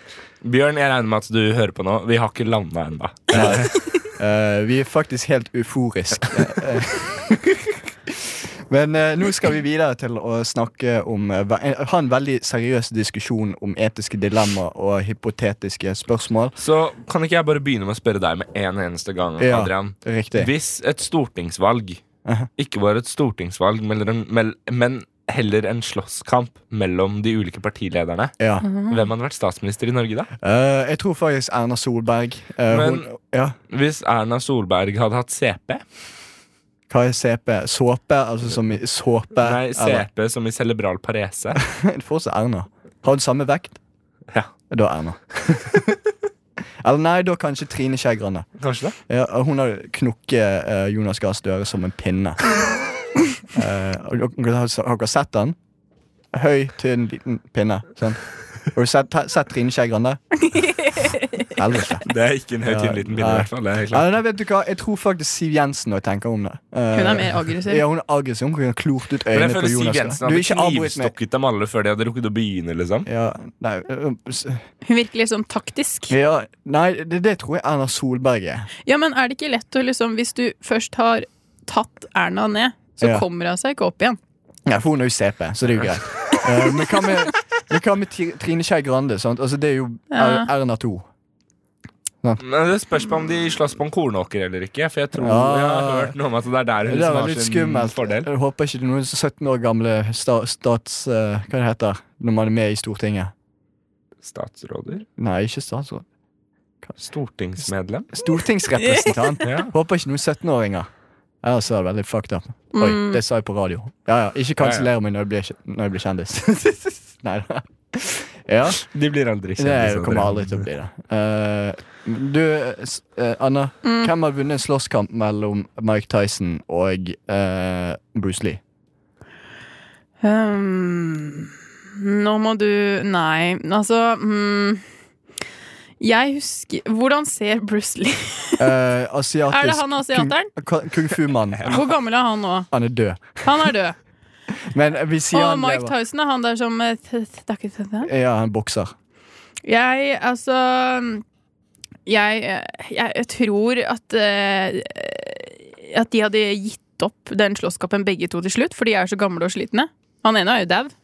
Bjørn, jeg regner med at du hører på nå. Vi har ikke landa ennå.
Eh, vi er faktisk helt euforiske. Eh, eh. Men eh, nå skal vi videre til å snakke om eh, ve- eh, Ha en veldig seriøs diskusjon om etiske dilemmaer og hypotetiske spørsmål.
Så kan ikke jeg bare begynne med å spørre deg med en eneste gang,
Ja.
Adrian.
Riktig.
Hvis et stortingsvalg
Aha.
ikke var et stortingsvalg, men, en- mel- men heller en slåsskamp mellom de ulike partilederne,
Ja.
hvem hadde vært statsminister i Norge da?
Eh, jeg tror faktisk Erna Solberg eh,
Men-
hun, ja.
Hvis Erna Solberg hadde hatt CP?
Hva er CP? Såpe? Altså som i såpe?
Nei,
eller-
CP som i cerebral parese.
Fortsatt Erna. Har hun samme vekt?
Ja.
Da Erna. Eller nei, da kanskje Trine Skei Grande.
Kanskje det?
Ja, og hun har knukket eh, Jonas Gahr Støre som en pinne. Eh, og dere har har dere sett den? Høy, tynn, liten pinne. sant? Har du sett, sett Trine Skei Grande? Heller ikke.
Det er ikke en høy,
Ja,
tynn liten pinne, i
nei.
hvert fall. Det er helt klart.
Ja, nei, vet du hva? Jeg tror faktisk Siv Jensen når jeg tenker om det. Eh,
Hun er mer aggressiv.
Ja, hun er aggressiv. Hun kunne klort ut
Men jeg
øynene på
føler Siv
Jonas.
Jensen
Du er
hadde
ikke avbryt meg.
knivstukket dem alle før de hadde rukket å begynne, liksom.
Ja, nei, øh, s-
Hun virker litt sånn taktisk.
ja, nei det, det tror jeg Erna Solberg er.
Ja, men er det ikke lett å liksom Hvis du først har tatt Erna ned, så
Ja.
kommer hun seg ikke opp igjen.
Ja, for hun er jo CP, så det er jo greit. Eh, men hva med, men hva med Ti- Trine Skei Grande? Sant? Altså, det er jo
Ja.
Er- Erna 2.
Men Det spørs på om de slåss på en kornåker eller ikke. For jeg tror
Ja.
jeg har hørt noe om at det er der hun
Det
som
er
har
litt
sin
skummelt.
fordel.
Jeg håper ikke det er noen 17 år gamle sta, stats... eh, hva det heter når man er med i Stortinget.
Statsråder?
Nei, ikke statsråd.
Stortingsmedlem?
Stortingsrepresentant.
Ja.
Håper ikke noen 17-åringer. Ellers er det veldig fucked up. Oi,
Mm.
det sa jeg på radio. Ja, ja, Ikke kansellere meg når jeg blir, når jeg blir kjendis. Nei da. Ja,
De blir aldri
det
kjendiser.
kommer aldri til å bli det. Eh, du, s- eh, Anna.
Mm.
Hvem har vunnet en slåsskamp mellom Mike Tyson og eh, Bruce Lee?
Ehm, nå må du Nei, altså mm, Jeg husker Hvordan ser Bruce Lee
Eh, asiatisk
Er det han asiateren?
Kung, kung fu-mann.
Hvor gammel er han nå?
Han er død.
Han er død.
Men vi sier
Og
han
Mike
lever.
Tyson er han der som eh, t- t- det er ikke det der?
Ja, han bokser.
Jeg, altså Jeg, jeg, jeg tror at eh, At de hadde gitt opp den slåsskampen begge to til slutt, for de er så gamle og slitne. Han ene er jo dau.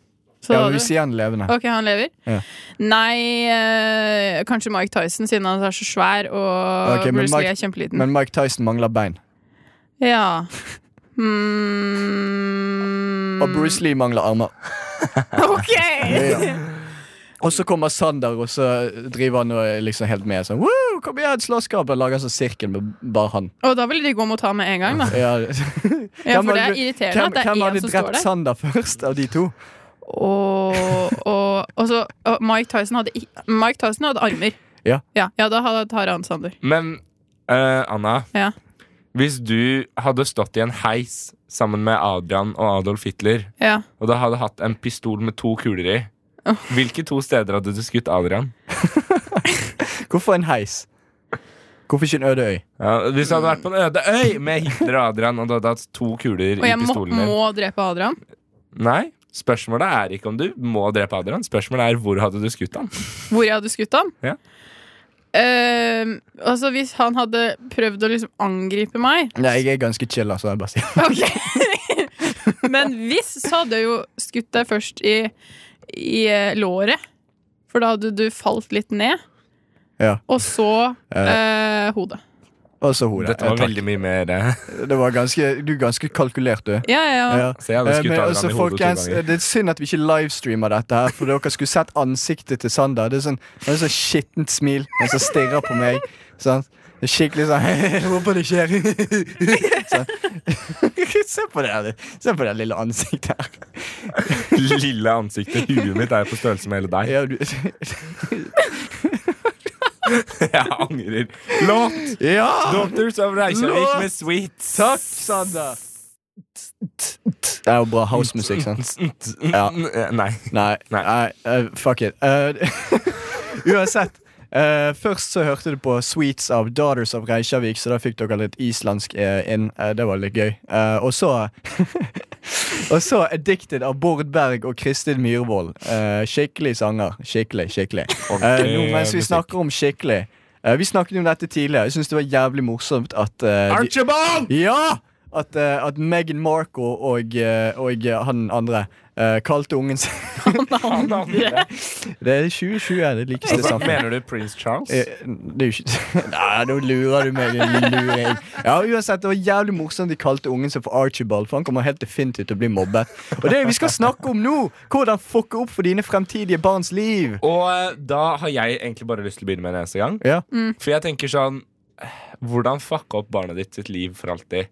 Så
Ja,
da-
vi sier han levende.
Ok, han lever?
Ja.
Nei, eh, kanskje Mike Tyson, siden han er så svær, og
Ok, men
Bruce Lee
Mike-
er kjempeliten.
Men Mike Tyson mangler bein.
Ja. Hmm. Mm.
Og Bruce Lee mangler armer.
Ok!
Og så kommer Sander, og så driver han og er liksom helt med. Sånn, Woo, kom igjen, slåsskamp! Og lager sånn sirkel med bare han.
Og da ville de gå mot han med en gang, da.
Ja,
Ja,
Hvem
for det
hadde-
er irriterende at det
hvem
er
hadde
én som står
drept
der.
Sander først av de to?
Og, og, og så og Mike Tyson hadde i- Mike Tyson hadde armer.
Ja.
Ja, ja, da hadde- tar han Sander.
Men eh, Anna,
Ja.
hvis du hadde stått i en heis sammen med Adrian og Adolf Hitler,
Ja.
og da hadde hatt en pistol med to kuler i,
Åh.
hvilke to steder hadde du skutt Adrian?
Hvorfor en heis? Hvorfor ikke en øde øy?
Ja, hvis du hadde vært på en øde øy med Hitler og Adrian, og du hadde hatt to kuler
Og
i
jeg må,
pistolen din
må drepe Adrian.
Nei, spørsmålet er ikke om du må drepe Adrian, spørsmålet er hvor hadde du skutt han?
Hvor jeg hadde skutt han?
Ja.
Ehm, altså Hvis han hadde prøvd å liksom angripe meg
Nei, jeg er ganske chill, altså. Jeg bare sier.
Ok Men hvis, så hadde jeg jo skutt deg først i, i eh, låret. For da hadde du falt litt ned.
Ja.
Og så eh, hodet.
Og så hodet.
Dette var
Eh, takk.
veldig mye mer eh,
Det var ganske, du er ganske kalkulert, du.
Ja, ja, ja.
Ja.
Så jeg hadde
Eh,
skutt
Men
Adrian
også,
i hodet
folkens, eh,
to ganger.
det er synd at vi ikke livestreamer dette her, for dere skulle sett ansiktet til Sander. Det er sånn, det er sånn skittent smil mens han stirrer på meg. Sant? Det er skikkelig sånn Jeg håper det skjer. Sånn. Se på det her. Se på det lille ansiktet her.
Lille ansiktet, huet mitt er på størrelse med hele deg.
Ja, du,
Jeg angrer. Låt!
ja!
Doctors of Reykjavik
Låt!
med Sweet.
Takk, Sander. Det er jo bra housemusikk, sant? Ja.
eh, Nei.
Nei,
Nei.
nei eh, fuck it. Eh, uansett. eh, først så hørte du på Sweets av Daughters of Reykjavik, så da fikk dere litt islandsk eh, inn. Eh, det var litt gøy. Eh, og så Og så Addicted av Bård Berg og Kristin Myhrvold. Eh, skikkelig sanger. Skikkelig, skikkelig. Eh, nå mens vi
musikk.
snakker om skikkelig eh, Vi snakket jo om dette tidligere. Jeg syns det var jævlig morsomt at eh, de-
Archibald!
ja! At, eh, at Meghan Markle og, eh, og eh, han andre eh, kalte ungen sin Det er 2020, det likeste
Altså,
samfunnet.
mener du Prince Charles?
Eh, Det er jo ikke Nei, nå lurer du meg. din luring. Ja, uansett, Det var jævlig morsomt de kalte ungen sin for Archibald, for han kommer helt definitivt til å bli mobbet. Og det er det vi skal snakke om nå! Hvordan fucke opp for dine fremtidige barns liv.
Og eh, da har jeg egentlig bare lyst til å begynne med en eneste gang.
Ja.
For jeg tenker sånn eh, Hvordan fucke opp barnet ditt sitt liv for alltid?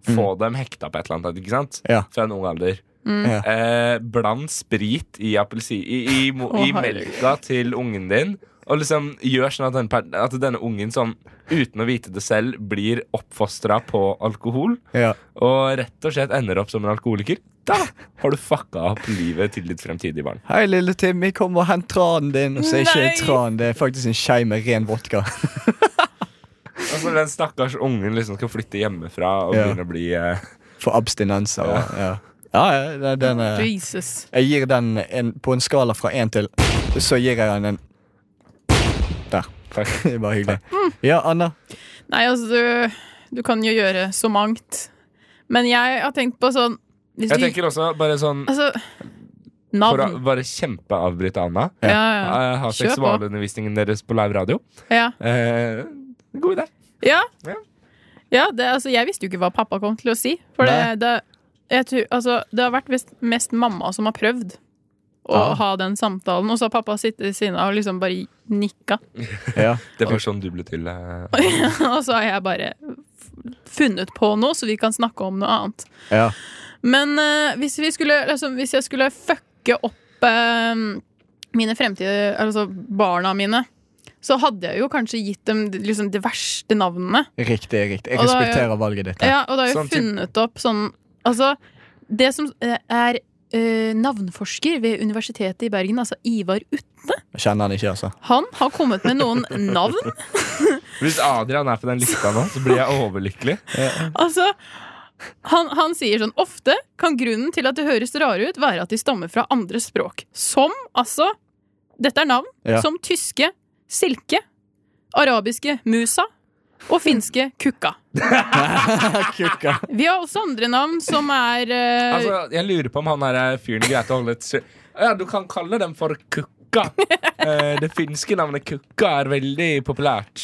Få dem hekta på et eller annet, ikke sant?
Mm. Ja.
Fra en ung alder.
Ja.
Eh, bland sprit i, appelsi, i, i, mo-
Å,
i melka til ungen din. Og liksom gjør sånn at, den, per- at denne ungen sånn uten å vite det selv blir oppfostra på alkohol.
Ja.
Og rett og slett ender opp som en alkoholiker. Da har du fucka opp livet til ditt fremtidige barn.
Hei, lille Timmy, kom og hent tranen din. Og så er ikke
Nei.
det tran, det er faktisk en skei med ren vodka.
Altså Den stakkars ungen liksom skal flytte hjemmefra og
Ja.
begynne å bli eh,
For abstinenser. og- Ja, ja, ja den, den er
Jesus.
Jeg gir den en, på en skala fra én til Så gir jeg den en Der.
Takk.
Det var hyggelig.
Mm.
Ja, Anna.
Nei, altså, du, du kan jo gjøre så mangt. Men jeg har tenkt på sånn hvis
Jeg
du,
tenker også bare sånn
Altså
for å
Navn.
bare kjempeavbryte Anna.
Ja, ja.
Eh, Ha
Kjør på.
seksualundervisningen deres på live radio.
ja.
Eh, god idé.
Ja.
Ja.
ja det, altså, jeg visste jo ikke hva pappa kom til å si. For
Nei.
det, det, jeg tror, altså, det har vært mest, mest mamma som har prøvd å
Ja.
ha den samtalen. Og så har pappa sittet ved siden av og liksom bare nikka.
Ja.
Det var sånn du ble til. eh,
og så har jeg bare f- funnet på noe, så vi kan snakke om noe annet.
Ja.
Men eh, hvis, vi skulle, liksom, hvis jeg skulle fucke opp eh, mine fremtidige Altså barna mine, så hadde jeg jo kanskje gitt dem liksom, de verste navnene.
Riktig, riktig. Jeg
Og da er jeg-
respekterer valget ditt. her.
Ja, og det har jo
Sånn typ-
funnet opp sånn Altså, det som eh, er eh, navnforsker ved Universitetet i Bergen, altså Ivar Utt,
Jeg kjenner han ikke, altså.
han har kommet med noen navn.
Hvis Adrian er på den lista nå, så blir jeg overlykkelig.
Altså, han, han sier sånn Ofte kan grunnen til at det høres rare ut, være at de stammer fra andre språk. Som altså Dette er navn.
Ja.
Som tyske silke, arabiske musa og finske kukka.
Kukka.
Vi har også andre navn som er eh,
Altså, jeg lurer på om han her er eh, fyren greit å holde et skjø- Ja, du kan kalle dem for kukka. Eh, det finske navnet kukka er veldig populært.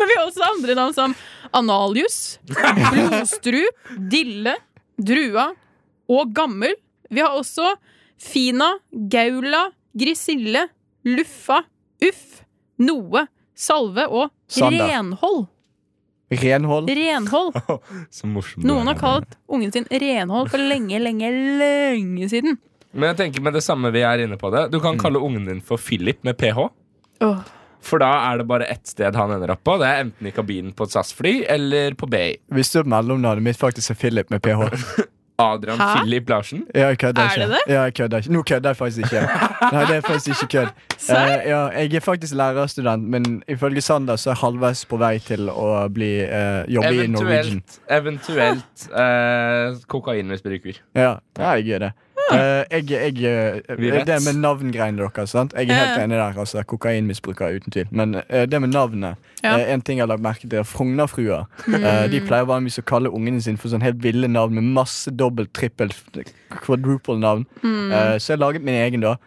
Men vi har også andre navn som Analius, Blodstrup, Dille, Drua og Gammel. Vi har også Fina, Gaula, Grisille, Luffa, Uff, Noe, Salve og
Sander.
Renhold.
Renhold.
Renhold.
Så morsomt.
Noen har kalt ungen sin Renhold for lenge, lenge, lenge siden.
Men jeg tenker med det samme vi er inne på det. Du
Mm.
kan kalle ungen din for Philip med ph.
Åh.
For da er det bare ett sted han ender opp på. Det er enten i kabinen på et SAS-fly eller på BI.
Visste du at mellomnavnet mitt faktisk er Philip med ph?
Adrian
Hæ?
Philip Larsen.
Ja, jeg
Er
kødder ikke.
det det?
Ja, jeg kødder ikke. Nå kødder jeg faktisk ikke. Nei, det er faktisk ikke kødd. Eh, ja, jeg er faktisk lærerstudent, men ifølge Sander så er jeg halvveis på vei til å bli, eh, jobbe i Norwegian.
Eventuelt, eventuelt eh, kokainmisbruker.
Ja, ja jeg er det. Eh, jeg, jeg, eh,
Vi vet.
det med navngreiene deres. Sant? Jeg er helt
Ja.
enig der. Altså, Kokainmisbruker uten tvil. Men eh, det med navnet
Ja.
eh, En ting jeg har lagt merke til, er Frognerfruer. Eh, de pleier vanligvis å kalle ungene sine for sånn helt ville navn med masse dobbelt, trippel, quadruple navn. Eh, så jeg laget min egen, da.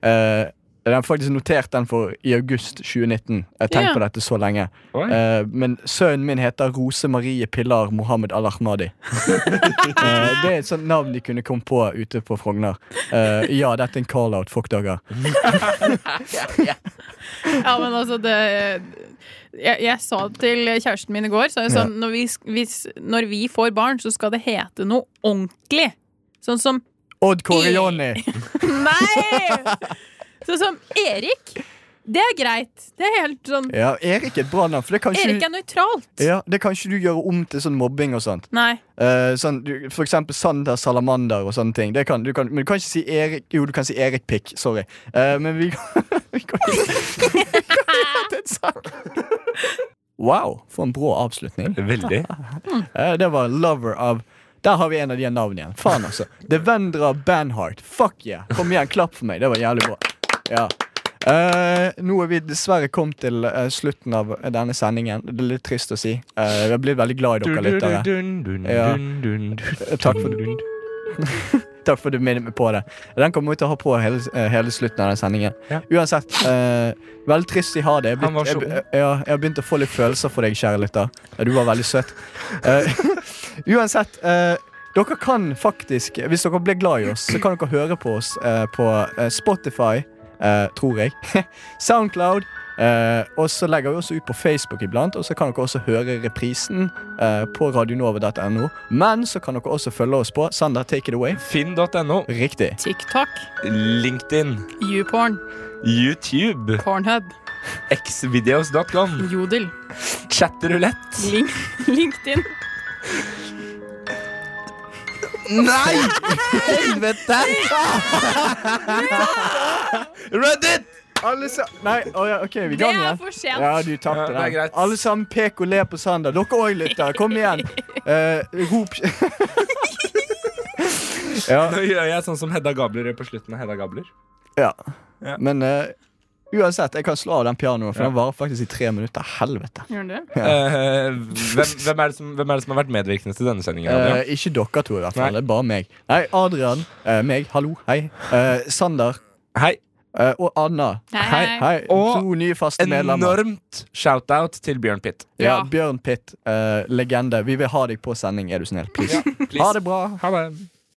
Eh, jeg har faktisk notert den for i august 2019. Jeg har tenkt
Ja.
på dette så lenge.
Oi.
Eh, men sønnen min heter Rose Marie Pilar Mohammed Al-Ahmadi. Eh, det er et sånt navn de kunne komme på ute på Frogner. Eh, ja, dette er en call-out. Fuck dager.
Ja, men altså det jeg, jeg sa det til kjæresten min i går. Så jeg sa, når, vi, sk- hvis, når vi får barn, så skal det hete noe ordentlig. Sånn som
Odd Kåre Jonny!
Nei! Sånn som Erik. Det er greit. Det er helt sånn
Ja, Erik er et bra navn. For det kan
Erik
ikke,
er nøytralt.
ja, det kan ikke du gjøre om til sånn mobbing og sånt.
Nei.
Eh, sånn, du, for eksempel Sander Salamander og sånne ting. Det kan, du kan, men du kan ikke si Erik Jo, du kan si Erik Pikk. Sorry. Eh, men vi kan, vi kan ikke det er en sak. Wow, for en brå avslutning.
Veldig.
Eh, Det var Lover av Der har vi en av de navnene igjen. Faen, altså. Devendra Banhart. Fuck yeah. Kom igjen, klapp for meg. Det var jævlig bra. Ja. Eh, nå er vi dessverre kommet til eh, slutten av denne sendingen. Det er litt trist å si. Eh, jeg blir veldig glad i dere lyttere. Ja. Takk for- Takk for at du minnet meg på det. Den kommer vi til å ha på hele, eh, hele slutten av den sendingen.
Ja.
Uansett, eh, veldig trist jeg har det. Jeg har
Han var
begynt-
så
jeg, jeg, ja, jeg har begynt å få litt følelser for deg, kjære lytter. Ja, Du var veldig søt. Eh, uansett, eh, dere kan faktisk, hvis dere blir glad i oss, så kan dere høre på oss eh, på eh, Spotify, eh, tror jeg, Soundcloud, Eh, og så legger vi også ut på Facebook iblant, og så kan dere også høre reprisen eh, på radionova.no. Men så kan dere også følge oss på Sander, take it away.
Finn.no,
Riktig.
TikTok,
LinkedIn,
YouPorn,
YouTube,
Pornhub,
xvideos.com,
Jodel,
chatterulett
Link, LinkedIn.
Nei! Helvete!
Ah,
Reddit!
Alle sa Nei, å ja, OK, vi
Det
ga den
er
igjen.
for sent.
Ja, du tapte
Ja, det er
den.
greit.
Alle sammen, pek og le på Sander. Dere òg, lyttere. Kom igjen. Eh, rop ja,
Nå gjør jeg sånn som Hedda Gabler gjør på slutten av Hedda Gabler.
ja.
Ja.
Men eh, uansett, jeg kan slå av den pianoen, for den varer faktisk i tre minutter. Helvete.
Gjør den det?
Eh, hvem, hvem, er det som, hvem er det som har vært medvirkende til denne sendingen? Adrian?
Eh, ikke dere to, i hvert fall.
Nei.
Det er bare meg. Nei, Adrian. eh, meg. Hallo. Hei. Eh, Sander.
Hei.
eh, og Anna.
Hei, hei.
Og
to nye faste medlemmer.
Enormt shout-out til Bjørn Pitt.
Ja,
Ja.
Bjørn Pitt. eh, legende. Vi vil ha deg på sending, er du snill. Please.
Please.
Ha det bra.
Ha det.